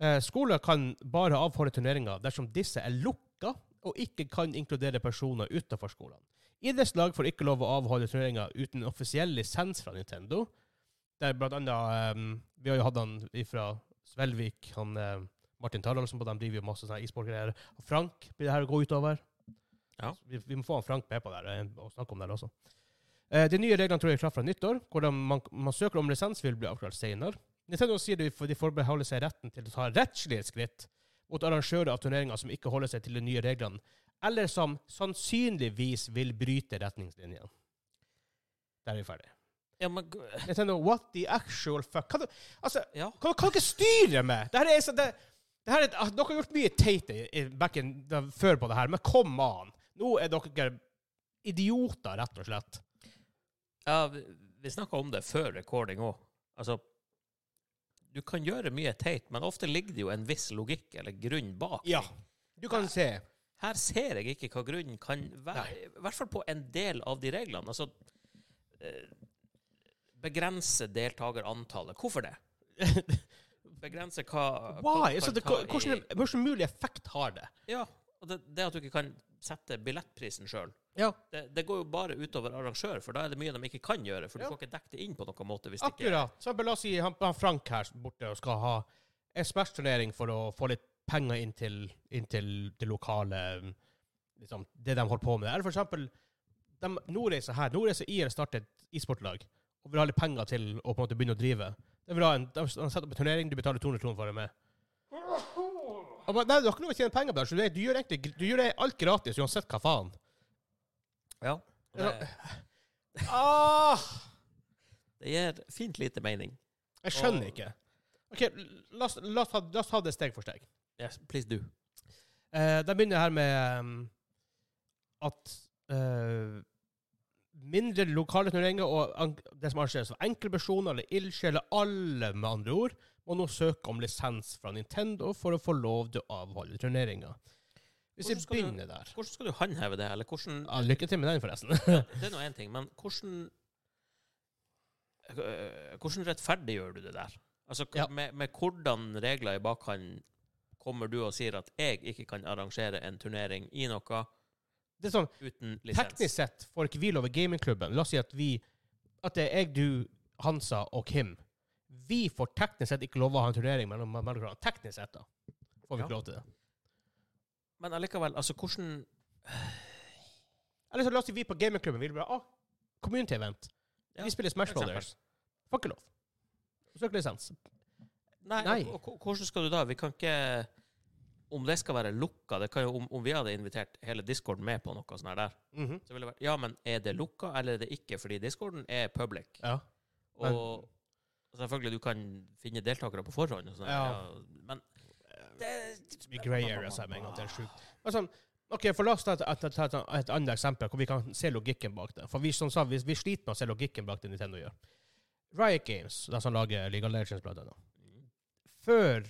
Speaker 1: Eh, skoler kan bare avholde turneringer dersom disse er lukka og ikke kan inkludere personer utenfor skolene. Idrettslag får ikke lov å avholde turneringer uten offisiell lisens fra Nintendo. Der blant annet eh, Vi har jo hatt han fra Svelvik, han eh, Martin Taraldsen, på dem driver jo masse sånne e-sportgreier. Og Frank blir det her å gå utover.
Speaker 2: Ja.
Speaker 1: Så Vi, vi må få han Frank med på det her, eh, og snakke om det her også. Eh, de nye reglene tror jeg er klart fra nyttår. Hvordan man, man søker om lisens, vil bli avklart senere. Nintendo sier de, for- de forbeholder seg retten til å ta rettslige skritt mot arrangører av turneringer som ikke holder seg til de nye reglene, eller som sannsynligvis vil bryte retningslinjene. Der er vi ferdig.
Speaker 2: Ja, men g-
Speaker 1: Nintendo, what the actual fuck? Kan du, altså,
Speaker 2: ja.
Speaker 1: kan, kan du ikke styre med? Det her er så, det, Det her er, ah, dere har gjort mye teit i- i backen da- før på det her, men kom an. Nå er dere idioter, rett og slett.
Speaker 2: Ja, vi, vi snakka om det før recording òg. Altså, du kan gjøre mye teit, men ofte ligger det jo en viss logikk eller grunn bak.
Speaker 1: Ja. Du kan se.
Speaker 2: Her ser jeg ikke hva grunnen kan være, i hvert fall på en del av de reglene. Altså, eh, begrense deltakerantallet. Hvorfor det? [LAUGHS] Begrense hva
Speaker 1: Why? Så det,
Speaker 2: ta i-
Speaker 1: hvordan, hvordan mulig effekt har det?
Speaker 2: Ja, og det, det at du ikke kan sette billettprisen sjøl,
Speaker 1: Ja,
Speaker 2: det, det går jo bare utover arrangør, for da er det mye de ikke kan gjøre, for du
Speaker 1: Ja.
Speaker 2: får ikke dekket det inn på noen måte hvis det ikke
Speaker 1: akkurat. Så la oss si han, han Frank her borte og skal ha en smash-turnering for å få litt penger inn til, inn til det lokale liksom, Det de holder på med. Eller for eksempel de, Nordreisa her. Nordreisa IR starter et e-sportlag og vil ha litt penger til å på en måte begynne å drive. De vil ha en, de setter opp en turnering, du betaler 200 kroner for å være med. Jeg Bare, nei, du har ikke noe å tjene penger på det. her, Så du, du, gjør egentlig, du gjør det alt gratis, uansett hva faen.
Speaker 2: Ja. Det,
Speaker 1: Ja. Ah!
Speaker 2: det gir fint lite mening.
Speaker 1: Jeg skjønner
Speaker 2: Og-
Speaker 1: ikke. OK, la oss, la, oss ta, la oss ta det steg for steg.
Speaker 2: Yes, please do.
Speaker 1: Eh, da begynner jeg her med um, at eh, mindre lokale turneringer og an- det som arrangeres av enkeltpersoner eller ildsjeler, alle med andre ord, må nå søke om lisens fra Nintendo for å få lov til å avholde turneringer. Hvis vi
Speaker 2: Hvordan skal du-
Speaker 1: begynner der
Speaker 2: Hvordan skal du håndheve det, eller hvordan
Speaker 1: ja, Lykke til med den, forresten. [LAUGHS]
Speaker 2: Det er nå én ting, men hvordan øh, Hvordan rettferdiggjør du det der? Altså, k-
Speaker 1: Ja.
Speaker 2: med, med hvordan regler i bakhånd kommer du og sier at jeg ikke kan arrangere en turnering i noe
Speaker 1: Det er sånn,
Speaker 2: uten
Speaker 1: Teknisk
Speaker 2: lisens?
Speaker 1: sett får ikke vi lov i gamingklubben. La oss si at vi At det er jeg, du, Hansa og Kim. Vi får teknisk sett ikke lov å ha en turnering mellom mellom hverandre. Teknisk sett, da. Får vi
Speaker 2: Ja.
Speaker 1: ikke lov til det.
Speaker 2: Men allikevel, altså, hvordan
Speaker 1: Eller så la oss si vi på gamingklubben vil bare ah, Community event.
Speaker 2: Ja,
Speaker 1: Vi spiller
Speaker 2: for
Speaker 1: Smash
Speaker 2: eksempel.
Speaker 1: Brothers. Får ikke lov. Søk lisens.
Speaker 2: Nei,
Speaker 1: Nei.
Speaker 2: Og, og, hvordan skal du da? Vi kan ikke Om det skal være lukka det kan jo, om, om vi hadde invitert hele discorden med på noe sånt her der,
Speaker 1: Mhm.
Speaker 2: så ville det vært Ja, men er det lukka, eller er det ikke? Fordi discorden er public.
Speaker 1: Ja. Men-
Speaker 2: Og selvfølgelig, du kan finne deltakere på forhånd. Og sånn,
Speaker 1: Ja.
Speaker 2: ja. Men det,
Speaker 1: I grey areas her med en gang. Det er sjukt. Men sånn, OK, for la oss ta et, et, et, et, et annet eksempel hvor vi kan se logikken bak det. For vi som sa, vi, vi sliter med å se logikken bak det Nintendo gjør. Riot Games, de som lager League of Legends, blant annet. før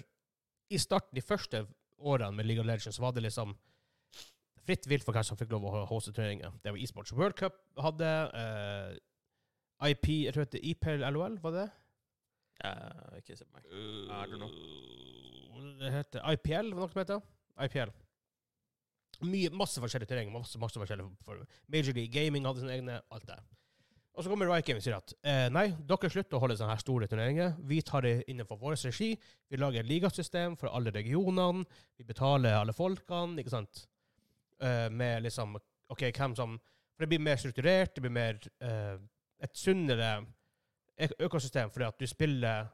Speaker 1: i starten, de første årene med League of Legends, var det liksom fritt vilt for hvem som fikk lov å hoste turneringer. Det var eSports World Cup hadde. eh, IP Jeg tror det heter IPL LOL, var det?
Speaker 2: Eh, ikke se på meg. I don't
Speaker 1: Det heter IPL, var det noe som heter? IPL. Mye, masse forskjellige turneringer. Masse, masse forskjellige for Major League Gaming hadde sine egne. Alt det. Og så kommer Riot Games og sier at eh, nei, dere slutter å holde sånne her store turneringer. Vi tar det innenfor vår regi. Vi lager et ligasystem for alle regionene. Vi betaler alle folkene, ikke sant? Eh, med liksom OK, hvem som For det blir mer strukturert, det blir mer eh, et sunnere ø- økosystem, fordi at du spiller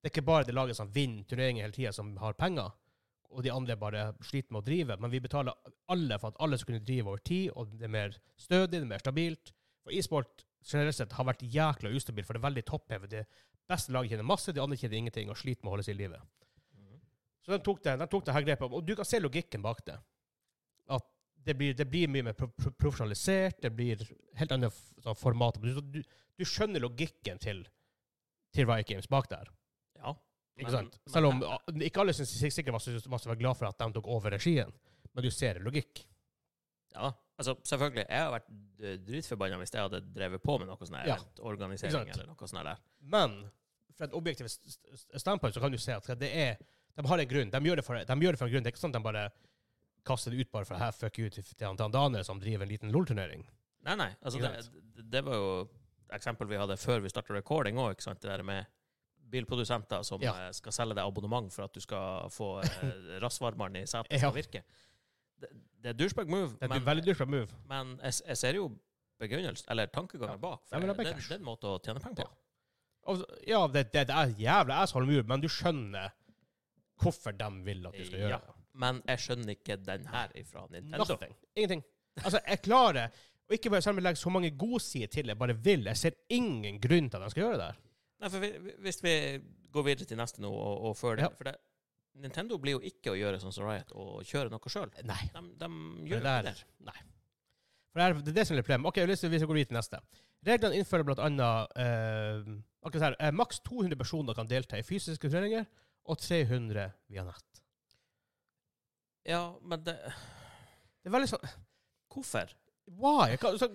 Speaker 1: Det er ikke bare det laget som vinner turneringer hele tida, som har penger, og de andre bare sliter med å drive, men vi betaler alle for at alle skal kunne drive over tid, og det er mer stødig, det er mer stabilt. For e-sport generelt sett har vært jækla ustabilt, for det er veldig topphevet. Det beste laget tjener masse, de andre tjener ingenting og sliter med å holde seg i live. Så de tok det, de tok det her grepet. Og du kan se logikken bak det. At det blir, det blir mye mer pro pro profesjonalisert, det blir helt annet f- sånn format. Du, du, du skjønner logikken til, til Riot Games bak der.
Speaker 2: Ja.
Speaker 1: Ikke
Speaker 2: Men-
Speaker 1: sant? Selv om ah, ikke alle syns sikkert var så, var så glad for at de tok over regien, men du ser logikk.
Speaker 2: Ja, altså selvfølgelig. Jeg hadde vært d- dritforbanna hvis jeg hadde drevet på med noe sånn her,
Speaker 1: Ja.
Speaker 2: rent organisering
Speaker 1: Ikke sant.
Speaker 2: eller noe sånt her der.
Speaker 1: Men fra et objektivt st- st- standpunkt så kan du se at det er De har en grunn. De gjør det for, de gjør det for en grunn. Det er ikke sånn at de bare kaster det ut bare for her, fuck you, til, til han til han Daniel som driver en liten LOL-turnering.
Speaker 2: Nei, nei. Altså,
Speaker 1: Ikke
Speaker 2: det, det- det var jo eksempel vi hadde før vi starta recording òg, ikke sant. Det der med bilprodusenter som
Speaker 1: Ja.
Speaker 2: eh, skal selge deg abonnement for at du skal få
Speaker 1: [LAUGHS]
Speaker 2: eh, rassvarmeren i setet
Speaker 1: Ja.
Speaker 2: skal virke. Det, det er douchebag move,
Speaker 1: Det er
Speaker 2: men,
Speaker 1: et veldig dusja move.
Speaker 2: men jeg, jeg ser jo begrunnelsen, eller tankegangen
Speaker 1: Ja.
Speaker 2: bak.
Speaker 1: Ja,
Speaker 2: For
Speaker 1: men
Speaker 2: det,
Speaker 1: det blir
Speaker 2: det,
Speaker 1: cash.
Speaker 2: er en måte å tjene penger på.
Speaker 1: Og, så- ja, det, det, det er jævla asshole move, men du skjønner hvorfor de vil at du skal gjøre
Speaker 2: Ja.
Speaker 1: det.
Speaker 2: Men jeg skjønner ikke den her ifra Nintendo.
Speaker 1: Nothing. Ingenting. Altså, jeg klarer Og ikke bare selv om jeg legger så mange godsider til, jeg bare vil. Jeg ser ingen grunn til at de skal gjøre det der.
Speaker 2: Nei, for vi, vi- hvis vi går videre til neste nå, og, og før det
Speaker 1: Ja.
Speaker 2: For det, Nintendo blir jo ikke å gjøre sånn som Riot og kjøre noe sjøl.
Speaker 1: Nei.
Speaker 2: De, de
Speaker 1: Det
Speaker 2: gjør jo ikke
Speaker 1: der-
Speaker 2: det.
Speaker 1: Nei. For det, er, det er det som er problemet. Ok, jeg har lyst til- vi skal gå videre til neste. Reglene innfører blant annet eh, akkurat så her, eh, maks 200 personer kan delta i fysiske turneringer, og 300 via nett.
Speaker 2: Ja, men det,
Speaker 1: Det er veldig sånn
Speaker 2: hvorfor?
Speaker 1: Why? Hva, så,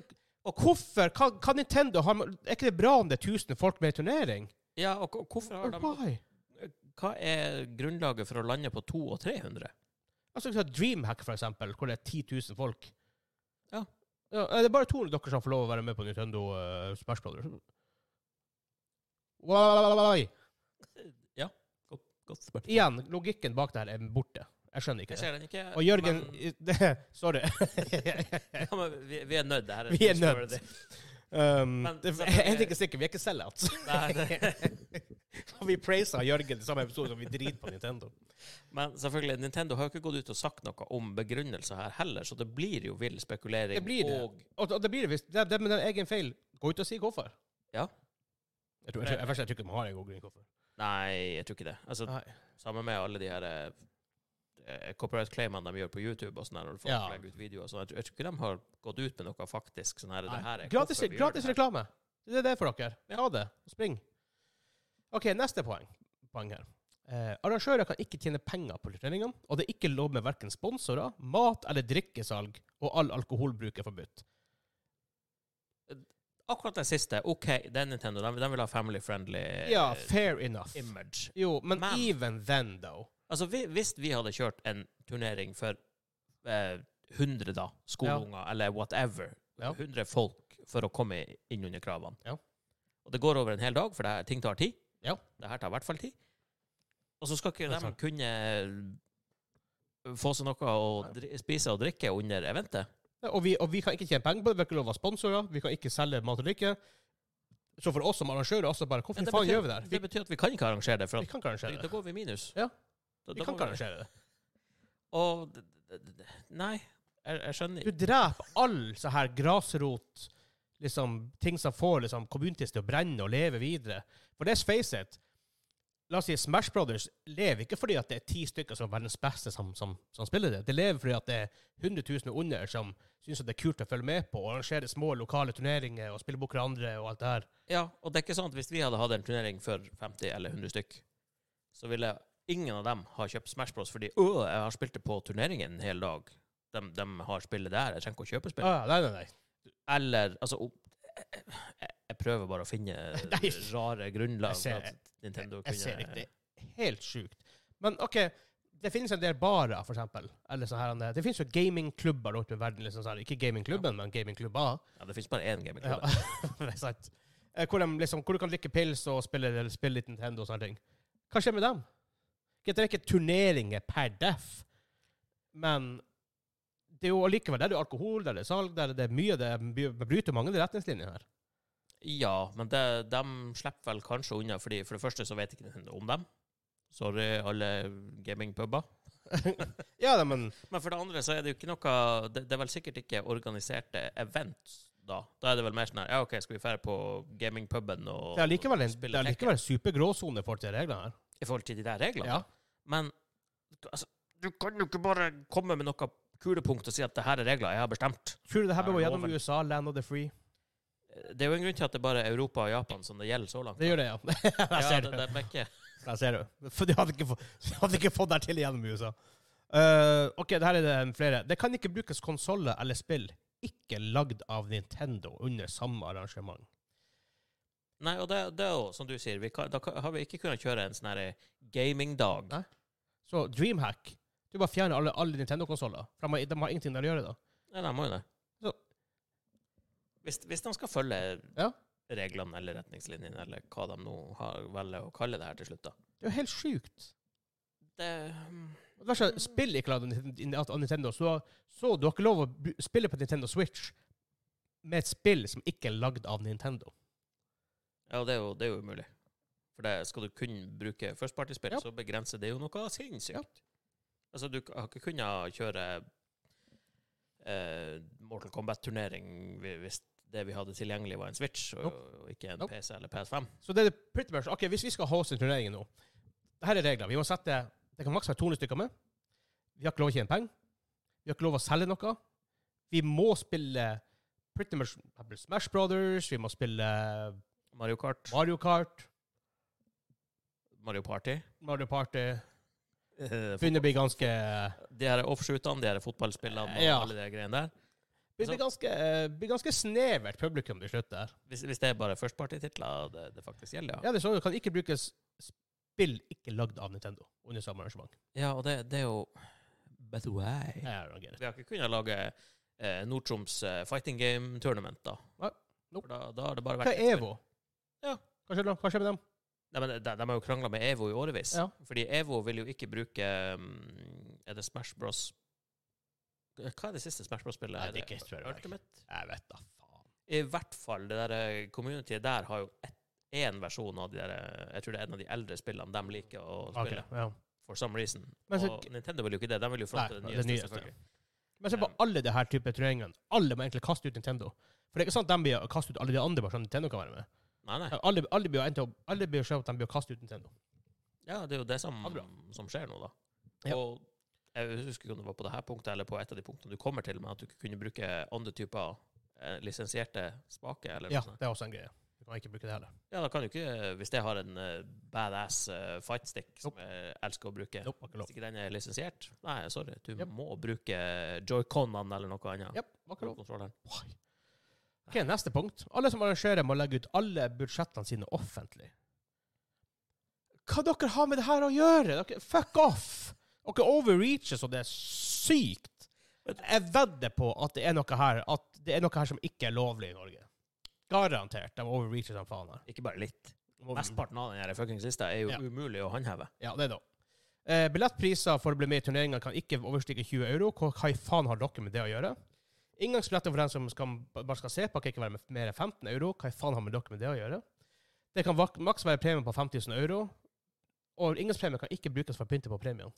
Speaker 1: og hvorfor? Kan, kan Nintendo ha Er ikke det bra om det er 1000 folk med i turnering?
Speaker 2: Ja, og hvor- hvorfor har de
Speaker 1: Why?
Speaker 2: Hva er grunnlaget for å lande på 200 og 300?
Speaker 1: Altså, ikke sant, Dreamhack, for eksempel, hvor det er 10 000 folk.
Speaker 2: Ja.
Speaker 1: Ja, eh, det er bare 200 dere som får lov å være med på Nintendo uh, Smash Brothers. Why?
Speaker 2: Godt, godt spørsmål.
Speaker 1: Igjen, logikken bak det her er borte. Jeg skjønner ikke
Speaker 2: Jeg
Speaker 1: det.
Speaker 2: ser den ikke.
Speaker 1: Og Jørgen
Speaker 2: men-
Speaker 1: det, [LAUGHS]
Speaker 2: [LAUGHS]
Speaker 1: Sorry.
Speaker 2: ja, men vi, vi er nødt. Det her
Speaker 1: Vi er
Speaker 2: det
Speaker 1: nødt.
Speaker 2: skal være det.
Speaker 1: um,
Speaker 2: Men-
Speaker 1: det, en ting er sikker, vi er ikke sellouts.
Speaker 2: Nei,
Speaker 1: [LAUGHS]
Speaker 2: [LAUGHS] det.
Speaker 1: vi prisa Jørgen i samme episode som vi driter på Nintendo.
Speaker 2: Men selvfølgelig, Nintendo har jo ikke gått ut og sagt noe om begrunnelser her heller, så det blir jo vill spekulering.
Speaker 1: Det blir det.
Speaker 2: Og
Speaker 1: Og, og det blir det visst. Det, det med den egen feil. Gå ut og si hvorfor.
Speaker 2: Ja.
Speaker 1: Jeg tror, jeg, tror- jeg, jeg, tror ikke man har en god grunn hvorfor.
Speaker 2: Nei, jeg tror ikke det. Altså,
Speaker 1: Nei.
Speaker 2: Sammen med alle de her eh, copyright claimene de gjør på YouTube og sånn her, når folk
Speaker 1: Ja.
Speaker 2: legger ut videoer og sånn. Jeg tror- jeg tror ikke de har gått ut med noe faktisk sånn her, det her er
Speaker 1: Gratis,
Speaker 2: hvorfor vi gjør
Speaker 1: gratis
Speaker 2: det her.
Speaker 1: reklame. Det er det for dere. Ha det. Spring. OK, neste poeng. poeng her. Eh, arrangører kan ikke tjene penger på turneringen, og det er ikke lov med verken sponsorer, mat eller drikkesalg, og all alkoholbruk er forbudt.
Speaker 2: Akkurat den siste. OK, det er Nintendo. De, de vil ha family friendly eh,
Speaker 1: Ja, fair enough.
Speaker 2: image.
Speaker 1: Jo, men,
Speaker 2: Men-
Speaker 1: even then, though.
Speaker 2: Altså, vi, hvis vi hadde kjørt en turnering for eh, 100 da, skoleunger, eller whatever,
Speaker 1: Ja.
Speaker 2: 100 folk for å komme inn under kravene,
Speaker 1: Ja.
Speaker 2: og det går over en hel dag, for det her, ting tar tid,
Speaker 1: Ja.
Speaker 2: det her tar i hvert fall tid, og så skal ikke
Speaker 1: Det
Speaker 2: de
Speaker 1: tar-
Speaker 2: kunne eh, få seg noe å dri spise og drikke under eventet.
Speaker 1: Ja, Og vi, og vi kan ikke tjene penger på det, vi har ikke lov av sponsorer, vi kan ikke selge mat og drikke. Så for oss som arrangører også bare Hvorfor
Speaker 2: Men det
Speaker 1: faen
Speaker 2: betyr-
Speaker 1: gjør vi det her? Vi,
Speaker 2: Det betyr at vi kan ikke arrangere det, for
Speaker 1: vi
Speaker 2: at,
Speaker 1: kan ikke arrangere
Speaker 2: da
Speaker 1: det.
Speaker 2: går vi i minus.
Speaker 1: Ja.
Speaker 2: Da,
Speaker 1: Vi
Speaker 2: da
Speaker 1: kan
Speaker 2: må
Speaker 1: ikke arrangere det.
Speaker 2: Og, d- d- d- d- nei, jeg, jeg skjønner
Speaker 1: Du dreper all så her grasrot, liksom, ting som får liksom, communities til å brenne og leve videre. For let's face it, la oss si Smash Brothers lever ikke fordi at det er ti stykker som er verdens beste som, som, som spiller det. Det lever fordi at det er 100 000 og under som syns det er kult å følge med på, og arrangere små lokale turneringer og spille bort hverandre og alt det her.
Speaker 2: Ja, og det er ikke sånn at hvis vi hadde hatt en turnering for 50 eller 100 stykk, så ville ingen av dem ha kjøpt Smash Bros. fordi øh, jeg har spilt det på turneringen en hel dag. De, har spillet der, jeg trenger ikke å kjøpe spill.
Speaker 1: Ah, nei, nei, nei.
Speaker 2: Eller, altså opp- jeg, jeg prøver bare å finne
Speaker 1: [LAUGHS] Nei.
Speaker 2: rare grunnlag
Speaker 1: Jeg ser-
Speaker 2: for at Nintendo
Speaker 1: Jeg ser
Speaker 2: kunne
Speaker 1: ikke det. Helt sjukt. Men OK, det finnes en del barer, for eksempel. Eller sånn her, det finnes jo gamingklubber rundt om i verden. Liksom sånn. her. Ikke gamingklubben, men gamingklubber.
Speaker 2: Ja, det finnes bare én game i
Speaker 1: Ja, [LAUGHS]
Speaker 2: klubben.
Speaker 1: det er sant. Eh, Hvor, de liksom, hvor du kan drikke pils og spille, eller spille litt Nintendo og sånne ting. Hva skjer med dem? Ikke at Det er ikke turneringer per def, men det er jo allikevel der det er alkohol, der det er salg, der det er mye det er- Man bryter mange retningslinjer her.
Speaker 2: Ja, men det, de slipper vel kanskje unna, fordi for det første så vet ikke Nintendo om dem. Sorry, alle gamingpuber.
Speaker 1: Ja, nei, men
Speaker 2: Men for det andre så er det jo ikke noe Det, det er vel sikkert ikke organiserte events, da. Da er det vel mer sånn her Ja, OK, skal vi dra på gamingpuben og
Speaker 1: det er likevel en, det
Speaker 2: spille
Speaker 1: er
Speaker 2: Tekken?
Speaker 1: likevel supergråsone for de reglene her.
Speaker 2: I forhold til de der reglene.
Speaker 1: Ja.
Speaker 2: Men altså, du kan jo ikke bare komme med noe kulepunkt og si at det her er regler jeg har bestemt.
Speaker 1: Tror du det her
Speaker 2: Ja,
Speaker 1: bør gå gjennom
Speaker 2: loven.
Speaker 1: USA, land of the free?
Speaker 2: Det er jo en grunn til at det bare er Europa og Japan som det gjelder så langt.
Speaker 1: Det gjør det, [LAUGHS] ja. Der
Speaker 2: ja,
Speaker 1: ser
Speaker 2: det,
Speaker 1: du.
Speaker 2: det er ikke
Speaker 1: Der ser du. For de hadde ikke, få, [LAUGHS] de hadde ikke fått det her til gjennom USA. Eh, ok, det her er det flere. Det kan ikke brukes konsoller eller spill ikke lagd av Nintendo under samme arrangement.
Speaker 2: Nei, og det, det er jo, som du sier, vi kan, da kan, har vi ikke kunnet kjøre en sånn her gamingdag.
Speaker 1: Nei. Så DreamHack Du bare fjerner alle, alle Nintendo-konsoller. For de har, de har ingenting der å gjøre, da.
Speaker 2: Nei, de må jo det.
Speaker 1: Så-
Speaker 2: Hvis, hvis de skal følge
Speaker 1: Ja.
Speaker 2: reglene eller retningslinjene, eller hva de nå har, velger å kalle det her til slutt, da
Speaker 1: Det er jo helt sjukt.
Speaker 2: det,
Speaker 1: Og det verste er, Spill ikke lagd av Nintendo- av Nintendo, så, så du har ikke lov å bru- spille på Nintendo Switch med et spill som ikke er lagd av Nintendo.
Speaker 2: ja, det, er jo, det er jo umulig. For det, skal du kun bruke førstepartyspill,
Speaker 1: Ja.
Speaker 2: så begrenser det jo noe sinnssykt.
Speaker 1: Ja.
Speaker 2: Altså, du har ikke kunnet kjøre eh, Mortal Kombat-turnering vi- hvis det vi hadde tilgjengelig, var en Switch, og, og ikke en
Speaker 1: Nope.
Speaker 2: PC eller PS5.
Speaker 1: Så det er pretty much Ok, hvis vi skal hoste turneringen nå Dette er reglene. Vi må sette Det kan maks være 200 stykker med. Vi har ikke lov å tjene penger. Vi har ikke lov å selge noe. Vi må spille pretty much Smash Brothers, vi må spille
Speaker 2: Mario Kart,
Speaker 1: Mario Kart,
Speaker 2: Mario Party.
Speaker 1: Mario Party.
Speaker 2: Eh,
Speaker 1: Begynner å bli ganske
Speaker 2: De her offshootene, de her fotballspillene og
Speaker 1: Ja.
Speaker 2: alle de greiene der.
Speaker 1: blir ganske, eh, blir ganske snevert publikum til slutt der.
Speaker 2: Hvis, hvis det er bare førstepartititler det, det faktisk gjelder, ja.
Speaker 1: Ja, det så, kan ikke brukes spill ikke lagd av Nintendo under samme arrangement.
Speaker 2: Ja, og det, det er jo By the way.
Speaker 1: Jeg reagerer.
Speaker 2: Vi har ikke kunnet lage eh, Nord-Troms eh, fighting game tournament, da.
Speaker 1: Nei, nope.
Speaker 2: For Da, da har det bare
Speaker 1: Hva
Speaker 2: vært
Speaker 1: er EVO?
Speaker 2: Ja.
Speaker 1: Hva skjer, da? Hva skjer med dem?
Speaker 2: Nei, men de, de har jo krangla med EVO i årevis.
Speaker 1: Ja.
Speaker 2: Fordi EVO vil jo ikke bruke um, Er det Smash Bros Hva er det siste Smash Bros-spillet?
Speaker 1: Nei, det er ikke- tror jeg det er.
Speaker 2: Ultimate?
Speaker 1: Jeg vet da faen.
Speaker 2: I hvert fall, det der eh, communityet der har jo én versjon av de der eh, Jeg tror det er en av de eldre spillene de liker å
Speaker 1: Ok,
Speaker 2: spille,
Speaker 1: ja.
Speaker 2: for some reason.
Speaker 1: Men så-
Speaker 2: og Nintendo vil jo ikke det. De vil jo fronte
Speaker 1: Nei,
Speaker 2: det
Speaker 1: det
Speaker 2: nyeste,
Speaker 1: nyeste.
Speaker 2: selvfølgelig.
Speaker 1: Men se på
Speaker 2: Um,
Speaker 1: alle det her type turneringene. Alle må egentlig kaste ut Nintendo. For det er ikke sant at de blir å kaste ut alle de andre bare som Nintendo kan være med.
Speaker 2: Nei, nei.
Speaker 1: Alle, alle blir å ende opp- alle blir å se at de blir å kaste ut Nintendo.
Speaker 2: Ja, det er jo det som,
Speaker 1: Ja, bra.
Speaker 2: som skjer nå, da.
Speaker 1: Ja.
Speaker 2: Og jeg husker ikke om det var på det her punktet eller på et av de punktene du kommer til, men at du ikke kunne bruke andre typer eh, lisensierte spaker. Eller
Speaker 1: Ja,
Speaker 2: noe sånt.
Speaker 1: det er også en greie. Du kan ikke bruke det heller.
Speaker 2: ja, da kan du ikke, hvis jeg har en eh, badass eh, fightstick som
Speaker 1: Nope.
Speaker 2: jeg elsker å bruke
Speaker 1: Nope, var ikke lov.
Speaker 2: Hvis ikke den er lisensiert, nei, sorry, du
Speaker 1: Yep.
Speaker 2: må bruke joyconene eller noe annet.
Speaker 1: Japp, var ikke lov.
Speaker 2: Kontrolleren.
Speaker 1: Oi. Ok, neste punkt. Alle som arrangerer må legge ut alle budsjettene sine offentlig. Hva dere har med det her å gjøre? Dere, fuck off! Dere overreacher så det er sykt. Jeg vedder på at det er noe her, at det er noe her som ikke er lovlig i Norge. Garantert. De overreacher som faen her.
Speaker 2: Ikke bare litt.
Speaker 1: De over-
Speaker 2: Mesteparten av den her fuckings lista er jo
Speaker 1: Ja.
Speaker 2: umulig å håndheve.
Speaker 1: Ja, det da. Eh, billettpriser for å bli med i turneringa kan ikke overstige 20 euro. Hva hva i faen har dere med det å gjøre? Inngangsbilletter for den som skal, bare skal se på, kan ikke være med mer enn 15 euro. Hva i faen har med dere med det å gjøre? Det kan vak- maks være premie på 5000 euro. Og inngangspremie kan ikke brukes for å pynte på premien.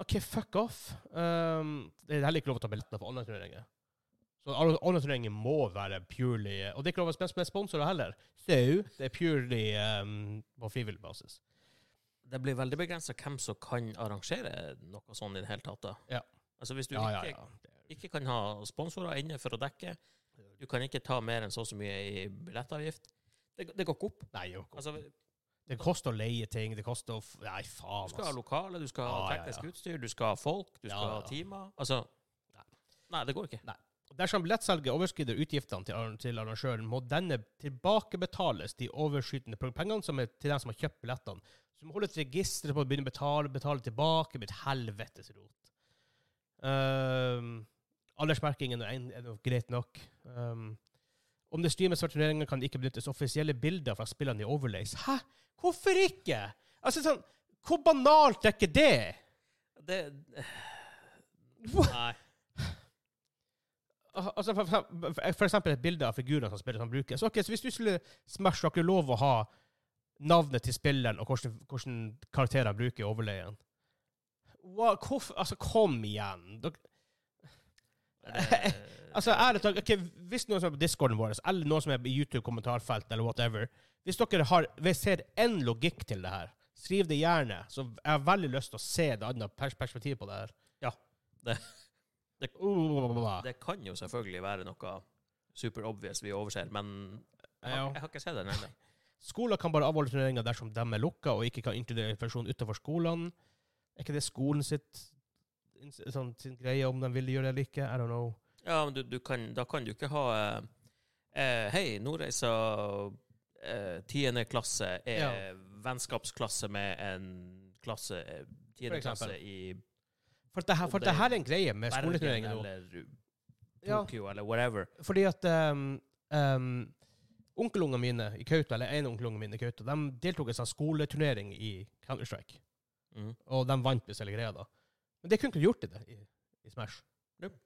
Speaker 1: OK, fuck off. Um, det er heller ikke lov å ta billetter for online-turneringer. Så alle- online-turneringer må være purely Og det er ikke lov å spille med sponsorer heller. So, det er purely um, på frivillig basis.
Speaker 2: det blir veldig begrensa hvem som kan arrangere noe sånt i det hele tatt. da.
Speaker 1: Ja.
Speaker 2: Altså Hvis du
Speaker 1: ja, ja,
Speaker 2: ikke,
Speaker 1: ja.
Speaker 2: ikke kan ha sponsorer inne for å dekke, du kan ikke ta mer enn så og så mye i billettavgift. Det, det går ikke opp.
Speaker 1: Nei, jo.
Speaker 2: Altså, Du
Speaker 1: det koster å leie ting, det koster å f Nei, faen,
Speaker 2: skal ha
Speaker 1: altså.
Speaker 2: lokale, du skal
Speaker 1: Ja,
Speaker 2: ha
Speaker 1: ja,
Speaker 2: teknisk
Speaker 1: ja.
Speaker 2: utstyr, du skal ha folk, du
Speaker 1: Ja,
Speaker 2: skal
Speaker 1: ja,
Speaker 2: ha
Speaker 1: ja.
Speaker 2: timer. Altså
Speaker 1: Nei.
Speaker 2: Nei, det går ikke.
Speaker 1: Dersom billettsalget overskrider utgiftene til, arr- til arrangøren, må denne tilbakebetales de overskytende pro- pengene som er til dem som har kjøpt billettene. Så du må holde et register på å begynne å betale, betale tilbake med et helvetes rot. Ehm, aldersmerkingen er en- er nok greit nok. Ehm, om det streames for turneringer, kan det ikke benyttes offisielle bilder fra spillene i Overlays. Hæ? Hvorfor ikke? Altså, sånn, Hvor banalt er ikke det?
Speaker 2: Det
Speaker 1: [SIGHS] What?
Speaker 2: Nei.
Speaker 1: Al- Altså, for, for, for eksempel et bilde av figuren som spilleren bruker. Så, ok, så hvis du skulle smash, har ikke du lov å ha navnet til spilleren og hvordan, hvordan karakterer han bruker i overleien? Hva, hvorfor, altså, kom igjen. Dere,
Speaker 2: Det,
Speaker 1: [LAUGHS] altså, ærlig talt, ok, hvis noen som er på discorden vår, eller noen som er i YouTube-kommentarfelt, eller whatever, hvis dere har, hvis ser en logikk til det her, skriv det gjerne, så jeg har veldig lyst til å se det andre pers perspektivet på det her.
Speaker 2: Ja, det- det-
Speaker 1: Uh,
Speaker 2: det kan jo selvfølgelig være noe super obvious vi overser, men jeg har,
Speaker 1: Ja.
Speaker 2: jeg har ikke sett den ennå.
Speaker 1: Skoler kan bare avholde turneringer dersom de er lukka og ikke kan inkludere personer utenfor skolene. Er ikke det skolen sitt ins- sånn, sin greie om de vil gjøre det eller ikke? I don't know.
Speaker 2: Ja, men du, du kan, da kan du ikke ha eh, eh, Hei, Nordreisa eh, 10. klasse er
Speaker 1: Ja.
Speaker 2: vennskapsklasse med en klasse eh, 10.
Speaker 1: For eksempel.
Speaker 2: klasse i
Speaker 1: For det her, for
Speaker 2: Om
Speaker 1: det
Speaker 2: det-
Speaker 1: her er en greie med
Speaker 2: Bergen
Speaker 1: skoleturneringer nå.
Speaker 2: eller
Speaker 1: Ja,
Speaker 2: Tokyo eller whatever.
Speaker 1: fordi at um, um, onkelungene mine i Kautokeino, eller en onkelunge mine i Kautokeino, de deltok i en sånn skoleturnering i Counter-Strike.
Speaker 2: Mhm.
Speaker 1: Og de vant hvis hele greia, da. Men det kunne ikke gjort det i, i Smash.
Speaker 2: Nope.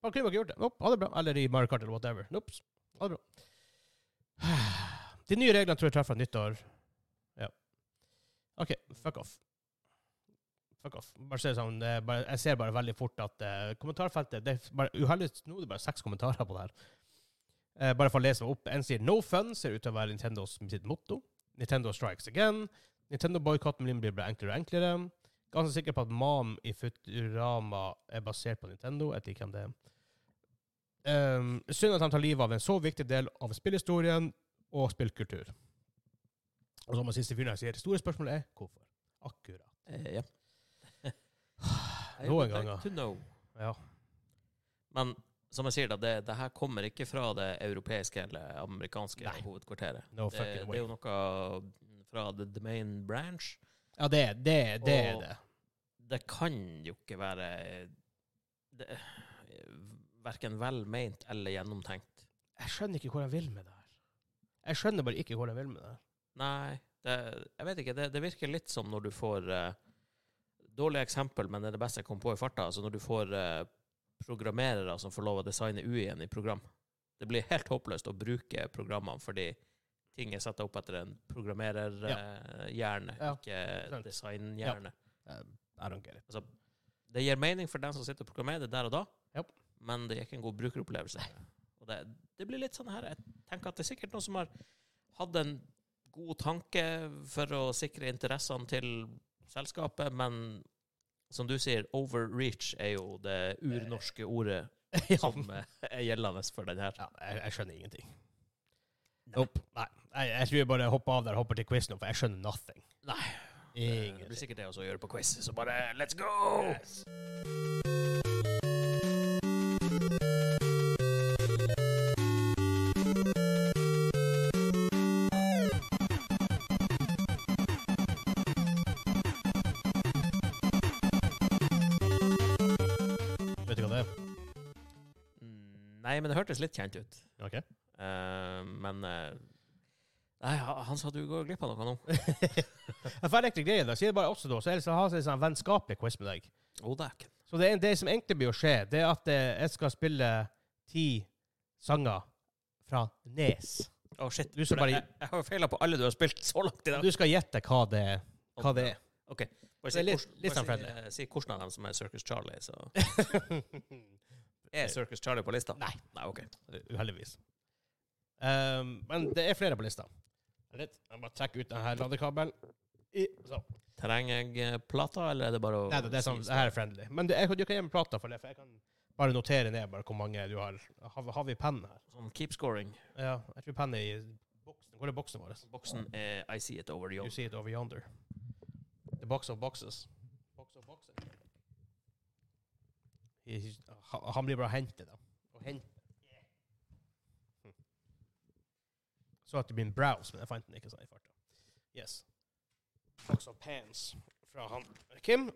Speaker 1: Man kunne ikke gjort det. Nope, ha det bra. Eller i Mario Kart eller whatever. Nope. Ha det bra. [SIGHS] De nye reglene tror jeg treffer nyttår. Ja. OK, fuck off. Fuck off. Bare se sånn, eh, bare, jeg ser bare veldig fort at eh, kommentarfeltet det er bare uheldigvis Nå er det bare seks kommentarer på det her. Eh, bare for å lese meg opp. En sier 'no fun', ser ut til å være Nintendos sitt motto. Nintendo strikes again. Nintendo-boikotten min blir bare enklere og enklere. Ganske sikker på at Mam i Futurama er basert på Nintendo. Jeg vet ikke hvem det er. Ehm, synd at han tar livet av en så viktig del av spillhistorien og spillkultur. Og som den siste fyren jeg sier, det store spørsmålet er hvorfor. Akkurat.
Speaker 2: Eh,
Speaker 1: [SIGHS]
Speaker 2: ja.
Speaker 1: Noen
Speaker 2: I would like
Speaker 1: ganger.
Speaker 2: to know.
Speaker 1: Ja.
Speaker 2: Men som jeg sier, da, det, det her kommer ikke fra det europeiske eller amerikanske
Speaker 1: Nei.
Speaker 2: hovedkvarteret.
Speaker 1: No
Speaker 2: Det,
Speaker 1: fucking
Speaker 2: det er
Speaker 1: way.
Speaker 2: jo noe fra the, the main branch.
Speaker 1: Ja, det, er- det, er- det er
Speaker 2: Og-
Speaker 1: det.
Speaker 2: Det kan jo ikke være det, Verken velment eller gjennomtenkt.
Speaker 1: Jeg skjønner ikke hvor han vil med det her. Jeg skjønner bare ikke hvor han vil med det her.
Speaker 2: Nei, det, jeg vet ikke. Det, det virker litt som når du får eh, Dårlig eksempel, men det er det beste jeg kom på i farta. Altså når du får eh, programmerere som får lov å designe UI-en i program. Det blir helt håpløst å bruke programmene fordi ting er satt opp etter en programmererhjerne,
Speaker 1: Ja.
Speaker 2: ikke
Speaker 1: sant.
Speaker 2: designhjerne.
Speaker 1: I don't get it.
Speaker 2: Det gir mening for den som sitter og programmerer det der og da,
Speaker 1: Japp.
Speaker 2: men det er ikke en god brukeropplevelse. Og det, det blir litt sånn her Jeg tenker at det er sikkert noen som har hatt en god tanke for å sikre interessene til selskapet, men som du sier, overreach er jo det urnorske ordet
Speaker 1: Eh. [LAUGHS] ja.
Speaker 2: som eh, er gjeldende for den her.
Speaker 1: ja, jeg, jeg skjønner ingenting. Nope. Nei. Jeg, jeg tror jeg bare hopper av der og hopper til quiz nå, for jeg skjønner nothing.
Speaker 2: Nei. Eh, Det blir
Speaker 1: Ingenting.
Speaker 2: sikkert det også å gjøre på quiz, så bare let's go!
Speaker 1: Yes. Vet du hva det er?
Speaker 2: Mm, Nei, men det hørtes litt kjent ut.
Speaker 1: Ok.
Speaker 2: Eh, men eh, Nei, ha- han sa du går glipp av noe nå.
Speaker 1: Jeg får egentlig greie det. Sier det bare også da, så ellers har jeg en sånn vennskapelig quiz med deg.
Speaker 2: Oh, dæken.
Speaker 1: Så det, er- det som egentlig blir å skje, det er at eh, jeg skal spille ti sanger fra Nes.
Speaker 2: Å, shit.
Speaker 1: Du skal
Speaker 2: For
Speaker 1: bare-
Speaker 2: jeg, jeg har jo feila på alle du har spilt [LAUGHS] så langt i dag.
Speaker 1: Du skal gjette hva det, hva det er.
Speaker 2: OK. Bare
Speaker 1: Det er litt-
Speaker 2: hvordan-
Speaker 1: litt sånn
Speaker 2: bare
Speaker 1: friendly.
Speaker 2: si, si hvordan av dem som er Circus Charlie, så
Speaker 1: [LAUGHS]
Speaker 2: Er Circus Charlie på lista? Nei. Nei, OK.
Speaker 1: Uheldigvis. Um, men det er flere på lista. Litt. Jeg bare trekker ut denne ladekabelen. I, så.
Speaker 2: Trenger jeg eh, plata, eller er det bare å
Speaker 1: Nei, det, det er sånn, det her er friendly. Men det, jeg, du kan gi meg plata for det, for jeg kan bare notere ned bare hvor mange du har. Har, har vi penn her?
Speaker 2: Sånn keep scoring.
Speaker 1: Ja, jeg tror penn er i boksen. Hvor er boksen vår?
Speaker 2: Boksen er I see it over the
Speaker 1: You
Speaker 2: old.
Speaker 1: see it over yonder. The box of boxes. Box of boxes. He- ha- Han blir bare hentet, da. Og hente. Hm. Så at det blir en browse, men jeg fant den ikke sånn i farta. Yes. Box of pants fra han Kim.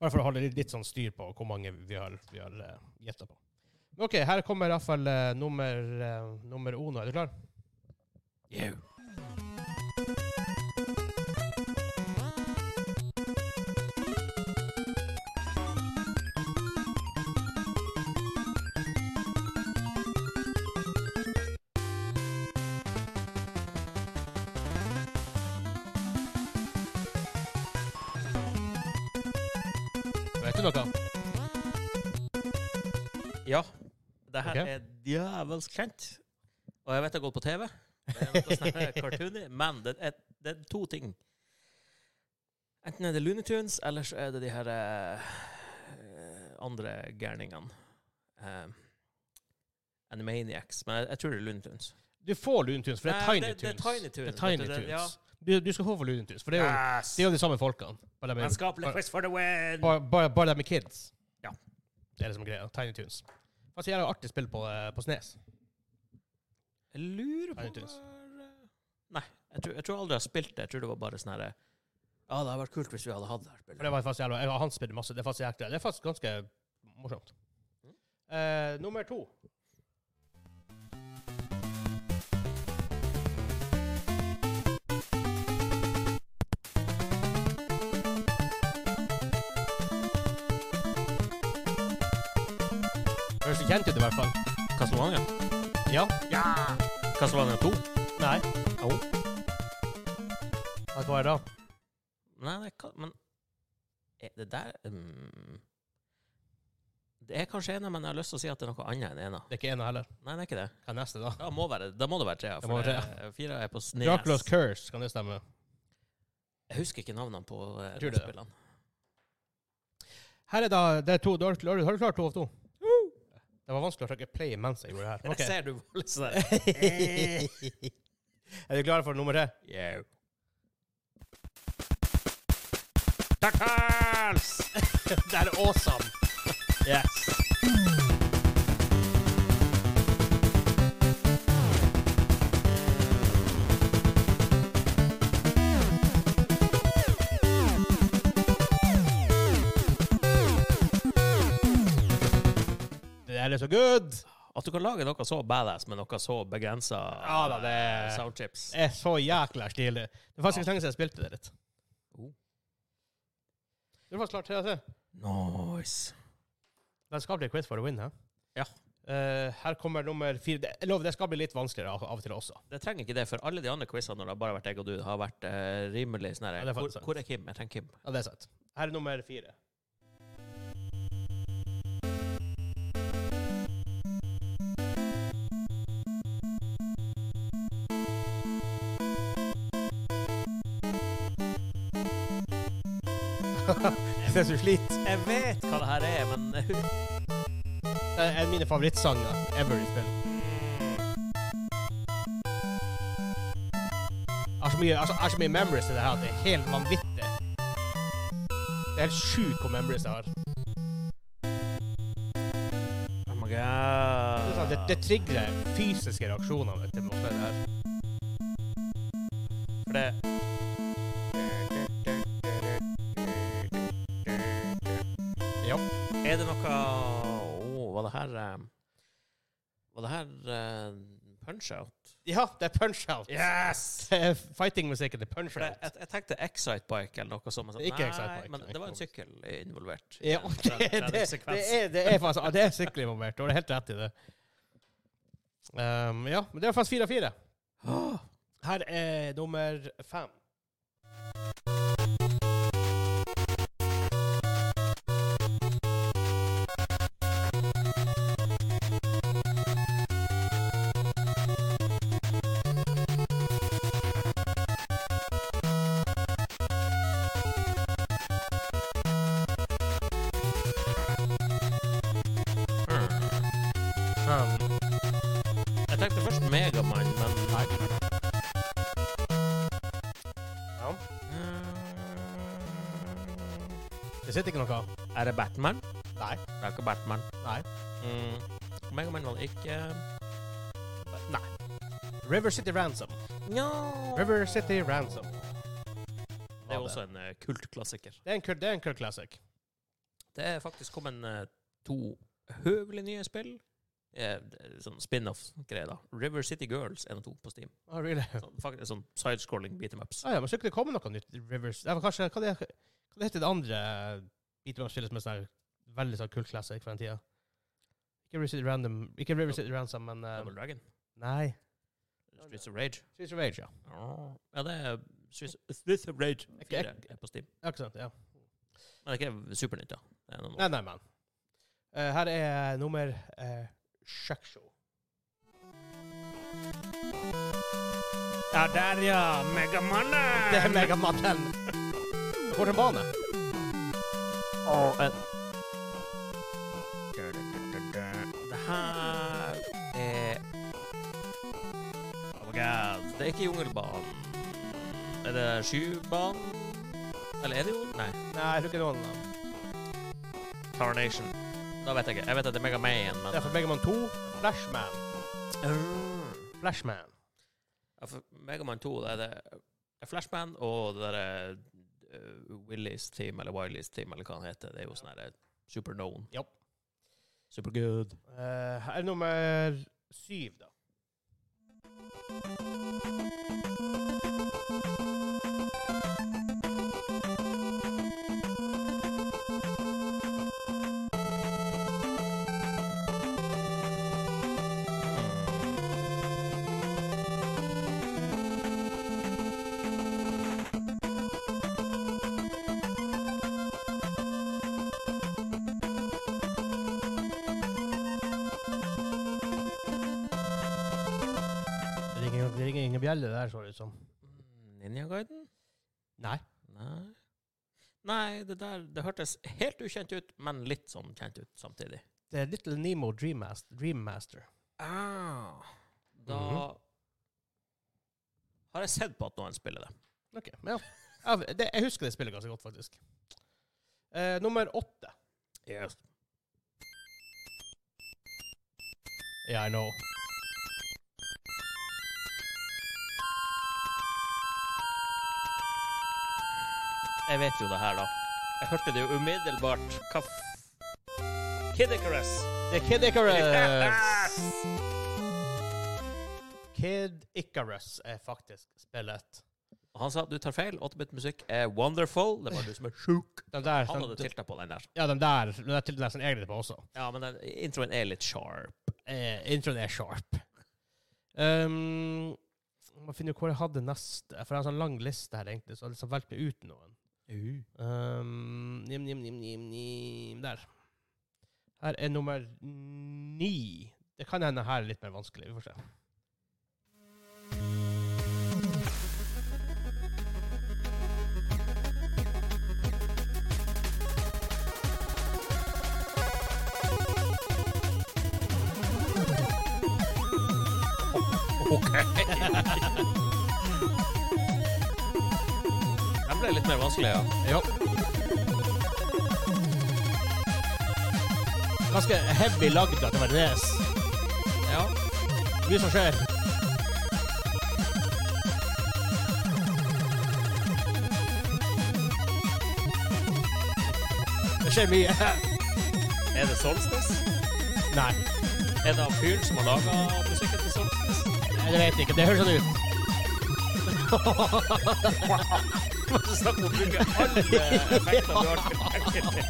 Speaker 1: Bare for å holde litt, litt sånn styr på hvor mange vi har, vi har eh, gjetta på. Men OK, her kommer iallfall uh, nummer, eh, nummer uno. Er du klar?
Speaker 2: Yeah.
Speaker 1: Vet du noe?
Speaker 2: Ja. Det her
Speaker 1: Ok.
Speaker 2: er djevelsk kjent. Og jeg vet det har gått på TV. Det er noe sånn
Speaker 1: [LAUGHS]
Speaker 2: her cartoony, men det er, det er to ting. Enten er det Looney Tunes, eller så er det de her eh, andre gærningene. Eh, Animaniacs. Men jeg, jeg tror det er Looney Tunes.
Speaker 1: Du får Looney Tunes, for det er
Speaker 2: Nei,
Speaker 1: Tiny
Speaker 2: det-
Speaker 1: Tunes.
Speaker 2: det er Tiny Tunes,
Speaker 1: Det er Tiny
Speaker 2: vet du, det-
Speaker 1: Tunes.
Speaker 2: ja. Ah.
Speaker 1: Du, du skal få for Looney Tunes, for det er jo,
Speaker 2: Yes!
Speaker 1: det er jo de samme folkene. Bare de er,
Speaker 2: Vennskapelig quiz for the win!
Speaker 1: bare, bare, bare de er kids.
Speaker 2: Ja.
Speaker 1: Det er det som er greia. Tiny Tunes. Altså, jeg har artig spill på, eh, på Snes.
Speaker 2: Jeg lurer på
Speaker 1: Tiny Tunes.
Speaker 2: bare- Nei, jeg tror, jeg tror aldri jeg har spilt det. Jeg tror det var bare sånn herre Ja, det hadde vært kult hvis vi hadde hatt det her
Speaker 1: For det
Speaker 2: spillet.
Speaker 1: var faktisk jævla, jeg, Han spiller masse. Det er faktisk, jækla- det er faktisk ganske morsomt. Eh, nummer to. Høres det kjent ut, i hvert fall.
Speaker 2: Castlevania.
Speaker 1: Ja.
Speaker 2: Ja! Castlevania 2.
Speaker 1: Nei.
Speaker 2: Jo.
Speaker 1: Vet du hva er det da?
Speaker 2: Nei, det kan, men er det der mm, Det er kanskje ena, men jeg har lyst til å si at det er noe annet enn ena.
Speaker 1: Det er ikke ena heller.
Speaker 2: Nei, det er ikke det.
Speaker 1: Hva er neste, da?
Speaker 2: Da må, være, da må det være trea.
Speaker 1: Det må
Speaker 2: For
Speaker 1: være
Speaker 2: eh, fire er på snes.
Speaker 1: Dracula's Curse, kan det stemme?
Speaker 2: Jeg husker ikke navnene på eh,
Speaker 1: tror det.
Speaker 2: spillene.
Speaker 1: Her er da det er to, da Har du har du klart to av to? Det var vanskelig å trykke play mens jeg gjorde det her. Ok.
Speaker 2: [LAUGHS] Jeg Ser du var litt sånn [LAUGHS] der?
Speaker 1: [LAUGHS] er du klar for nummer tre?
Speaker 2: Yeah. Tackles!
Speaker 1: Det er awesome!
Speaker 2: Yes.
Speaker 1: Det der er så good!
Speaker 2: At du kan lage noe så badass med noe så begrensa
Speaker 1: Ja Eh. da, det-
Speaker 2: soundchips.
Speaker 1: Det er så jækla stilig. Det er faktisk ikke lenge siden jeg spilte det litt.
Speaker 2: Oh.
Speaker 1: Du var altså. klart til å se.
Speaker 2: Nice.
Speaker 1: Den skal bli quiz for a win, hæ?
Speaker 2: Ja.
Speaker 1: Eh, her kommer nummer fire. Det- Jeg lover, det skal bli litt vanskeligere av, av og til også.
Speaker 2: Det trenger ikke det, for alle de andre quizene når det har bare vært jeg og du, har vært eh, rimelig sånn her
Speaker 1: Ja, det er
Speaker 2: hvor,
Speaker 1: faktisk sant.
Speaker 2: hvor er Kim? Jeg trenger Kim.
Speaker 1: Ja, det er sant. Her er nummer fire. [LAUGHS] Jeg synes du sliter.
Speaker 2: Jeg vet hva det her er, men eh,
Speaker 1: Det er en av mine favorittsanger ever i spill. Jeg har så mye, altså, jeg har så mye memories i det her at det er helt vanvittig. Det er helt sjukt hvor memories jeg har.
Speaker 2: Oh my
Speaker 1: Det, er sånn, det, det
Speaker 2: god.
Speaker 1: trigger fysiske reaksjoner vet du, med å spille det her.
Speaker 2: For det
Speaker 1: Ja.
Speaker 2: Er det noe oh, Var det her eh, Var det her eh, punch-out?
Speaker 1: Ja, det er punch-out.
Speaker 2: Yes!
Speaker 1: Det er Fighting-musikken til
Speaker 2: For jeg,
Speaker 1: punch-out.
Speaker 2: jeg, jeg tenkte Excitebike eller noe sånt. men så-
Speaker 1: Ikke
Speaker 2: Nei,
Speaker 1: Excitebike,
Speaker 2: Men det var en
Speaker 1: ikke
Speaker 2: sykkel involvert.
Speaker 1: Ja, [LAUGHS]
Speaker 2: Eh,
Speaker 1: ok,
Speaker 2: fra-
Speaker 1: det,
Speaker 2: fra
Speaker 1: det,
Speaker 2: den sekvensen.
Speaker 1: er, det er faktisk ja, det er sikkert involvert. Du har helt rett i det. Um, ja, men det er faktisk fire av fire.
Speaker 2: Åh,
Speaker 1: Her er nummer fem. Um,
Speaker 2: Jeg tenkte først Megamann, men Nei.
Speaker 1: ja. Det sitter ikke noe.
Speaker 2: Er det Batman?
Speaker 1: Nei.
Speaker 2: Det er ikke Batman.
Speaker 1: Nei.
Speaker 2: Mm. Megamann var det ikke
Speaker 1: River City Ransom.
Speaker 2: Nja.
Speaker 1: River City Ransom.
Speaker 2: Det er jo også en eh, kultklassiker.
Speaker 1: Det er en kul, det er en kul [LAUGHS] classic.
Speaker 2: Det er faktisk kommet eh, to høvelig nye spill. Eh, det er sånn spin-off-greier, da. River City Girls 1 og 2 på Steam.
Speaker 1: Oh, really?
Speaker 2: Sånn, faktisk sånn sidescrolling beat em ups.
Speaker 1: ah, ja, men skulle det komme noe nytt Rivers det var kanskje, hva, det, hva det heter det andre beatmap-spillet som er sånn her veldig sånn kult classic for den tida? Ikke River City Random, ikke River City Ransom, men eh,
Speaker 2: Double Dragon.
Speaker 1: Nei.
Speaker 2: Streets of Rage.
Speaker 1: Streets of Rage, ja.
Speaker 2: Ja, det er Streets Streets of Rage 4 er på Steam.
Speaker 1: Ja, ikke sant? Ja.
Speaker 2: Men det er ikke supernytt, da. Det er noen år.
Speaker 1: Nei, nei, men. Eh, her er nummer uh, Shaksho.
Speaker 2: Ja, der, ja! Megamannen!
Speaker 1: [LAUGHS] Det er Megamann. Går til bane.
Speaker 2: Og en Det her er Oh my god. Det er ikke jungelbanen. Er det skybanen? Eller er det jo Nei.
Speaker 1: Nei, jeg tror ikke det var noen. eh.
Speaker 2: Tarnation. Da vet jeg ikke. Jeg vet at det er Mega Man, men
Speaker 1: Det er fra Megaman 2. Flashman.
Speaker 2: Øh.
Speaker 1: Flashman.
Speaker 2: ja, for Mega Man 2, det er det Flashman og det derre Willys Team, eller Wileys Team, eller hva han heter. Det er jo sånn her Superknown.
Speaker 1: Japp.
Speaker 2: Supergood.
Speaker 1: Eh, her er nummer syv, da.
Speaker 2: Å,
Speaker 1: bjelle der, så liksom. det ut som.
Speaker 2: Mm, Ninja Gaiden?
Speaker 1: Nei.
Speaker 2: Nei. Nei, det der det hørtes helt ukjent ut, men litt sånn kjent ut samtidig.
Speaker 1: Det er Little Nemo Dreammaster. Dreammaster.
Speaker 2: Ah. Da
Speaker 1: Mhm.
Speaker 2: har jeg sett på at noen spiller det.
Speaker 1: Ok, men ja. ja det, jeg husker det spillet ganske godt, faktisk. Eh, nummer åtte.
Speaker 2: Yes.
Speaker 1: Yeah, I know.
Speaker 2: Jeg vet jo det her, da. Jeg hørte det jo umiddelbart. Hva f... Kid Icarus.
Speaker 1: Det er Kid Icarus! Kid Icarus er faktisk spillet.
Speaker 2: Han sa du tar feil. 8-bit-musikk er wonderful. Det var du som er sjuk.
Speaker 1: Den der,
Speaker 2: Han hadde
Speaker 1: den,
Speaker 2: tilta på den der.
Speaker 1: ja, den der, den der til nesten egentlig på også.
Speaker 2: Ja, men den, introen er litt sharp.
Speaker 1: Eh, introen er sharp. Um, må finne ut hvor jeg hadde neste, for jeg har en sånn lang liste her egentlig, så jeg har liksom valgte ut noen. Um, nim, nim, nim, nim, nim. Der. Her er nummer ni. Det kan hende her er litt mer vanskelig. Vi får se.
Speaker 2: Den ble litt mer vanskelig, ja.
Speaker 1: Ja. Ganske heavy lagd at det var race.
Speaker 2: ja.
Speaker 1: Mye som skjer. Det skjer mye. [LAUGHS]
Speaker 2: Er det Solstice?
Speaker 1: Nei,
Speaker 2: Er det han fyren som har laga musikken til Solstice? [LAUGHS]
Speaker 1: jeg vet ikke. Det høres sånn ut.
Speaker 2: Du snakker om å bruke alle effektene du har tilgjengelig.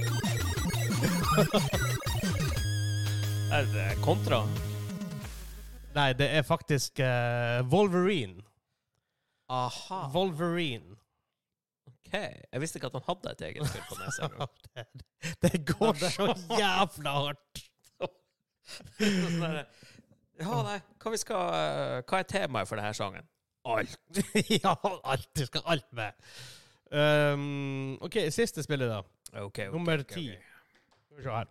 Speaker 2: Er det kontra?
Speaker 1: Nei, det er faktisk eh, Wolverine.
Speaker 2: Aha.
Speaker 1: Ah. Wolverine. [LAUGHS]
Speaker 2: Ok. Jeg visste ikke at han hadde et eget spill på nesa. [LAUGHS] engang.
Speaker 1: Det, det går så jævla hardt.
Speaker 2: Sånn der, Ja, nei. Hva, vi skal, eh, hva er temaet for denne sangen? Alt.
Speaker 1: [LAUGHS] ja, alt. Du skal alt med. Um, OK, siste spillet, da.
Speaker 2: Ok, ok,
Speaker 1: Nummer
Speaker 2: ok, ok.
Speaker 1: ti. Skal vi se [LAUGHS] her.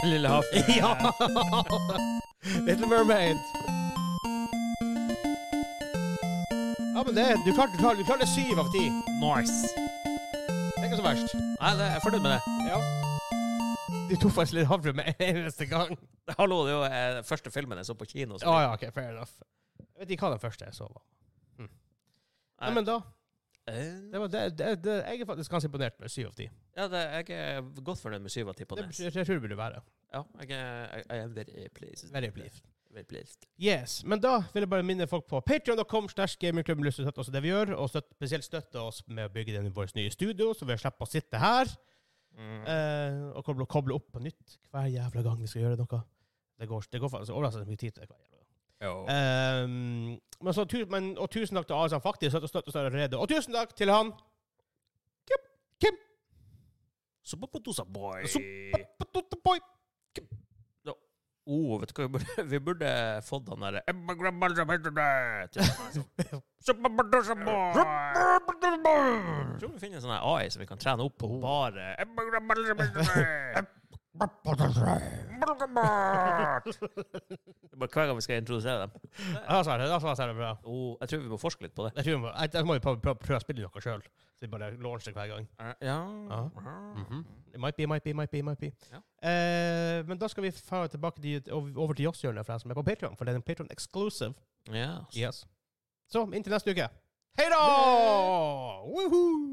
Speaker 2: Den lille
Speaker 1: [LAUGHS]
Speaker 2: havfruen.
Speaker 1: Ja! Little Mermaid. Ja, men det, du klarte, du klarte, du klarte syv av ti.
Speaker 2: Nice.
Speaker 1: Det er ikke så verst.
Speaker 2: Nei, det, jeg er fornøyd med det.
Speaker 1: Ja. Du tok faktisk litt havre med en eneste gang.
Speaker 2: Hallo, det er jo eh, første filmen jeg så på kino. så-
Speaker 1: Ja, ja, ok, fair enough. Jeg vet ikke hva den første jeg så var. Hm.
Speaker 2: Nei.
Speaker 1: Nei, men da,
Speaker 2: Eh,
Speaker 1: det var det, det, det, jeg er faktisk ganske imponert med syv av ti.
Speaker 2: Ja, det, jeg er godt fornøyd med syv av ti på
Speaker 1: Det
Speaker 2: det.
Speaker 1: jeg tror det burde være.
Speaker 2: Ja, jeg er I am very pleased.
Speaker 1: Very pleased.
Speaker 2: Very pleased.
Speaker 1: Yes, men da vil jeg bare minne folk på patreon.com slash gamingklubben lyst til å støtte oss i det vi gjør, og støtt, spesielt støtte oss med å bygge den i vårt nye studio, så vi slipper å sitte her eh, og koble, koble opp på nytt hver jævla gang vi skal gjøre noe. Det går, det går faktisk overraskende mye tid til det hver jævla gang.
Speaker 2: Jo.
Speaker 1: Eh, Ehm, men så, tu- men, og tusen takk til alle som faktisk støtter støtter oss allerede, og tusen takk til han
Speaker 2: Sopapadosa boy.
Speaker 1: Boy.
Speaker 2: Oh, vet du hva, vi burde, [LAUGHS] vi burde fått han derre Emma Grumble som heter det, til han, altså. Sopapadosa boy. Tror du vi finner en sånn her AI som vi kan trene opp
Speaker 1: Oh.
Speaker 2: på bare Emma Grumble som heter det. Det er bare Hver gang vi skal introdusere dem.
Speaker 1: Ja, så er det, ja, så er det bra.
Speaker 2: Oh, jeg tror vi må forske litt på det.
Speaker 1: Jeg tror vi må, jeg, jeg må jo prøve, prøve, prøve å spille noe sjøl, så vi bare launcher det hver gang.
Speaker 2: Ja.
Speaker 1: Ja. It might be, might be, might be, might be.
Speaker 2: Mhm. Ja.
Speaker 1: Eh, men da skal vi fare tilbake dit, ov- over til Joss-hjørnet for deg som er på Patreon, for det er en Patreon exclusive.
Speaker 2: Yes.
Speaker 1: Yes. Så inntil neste uke. Hei da! Woohoo!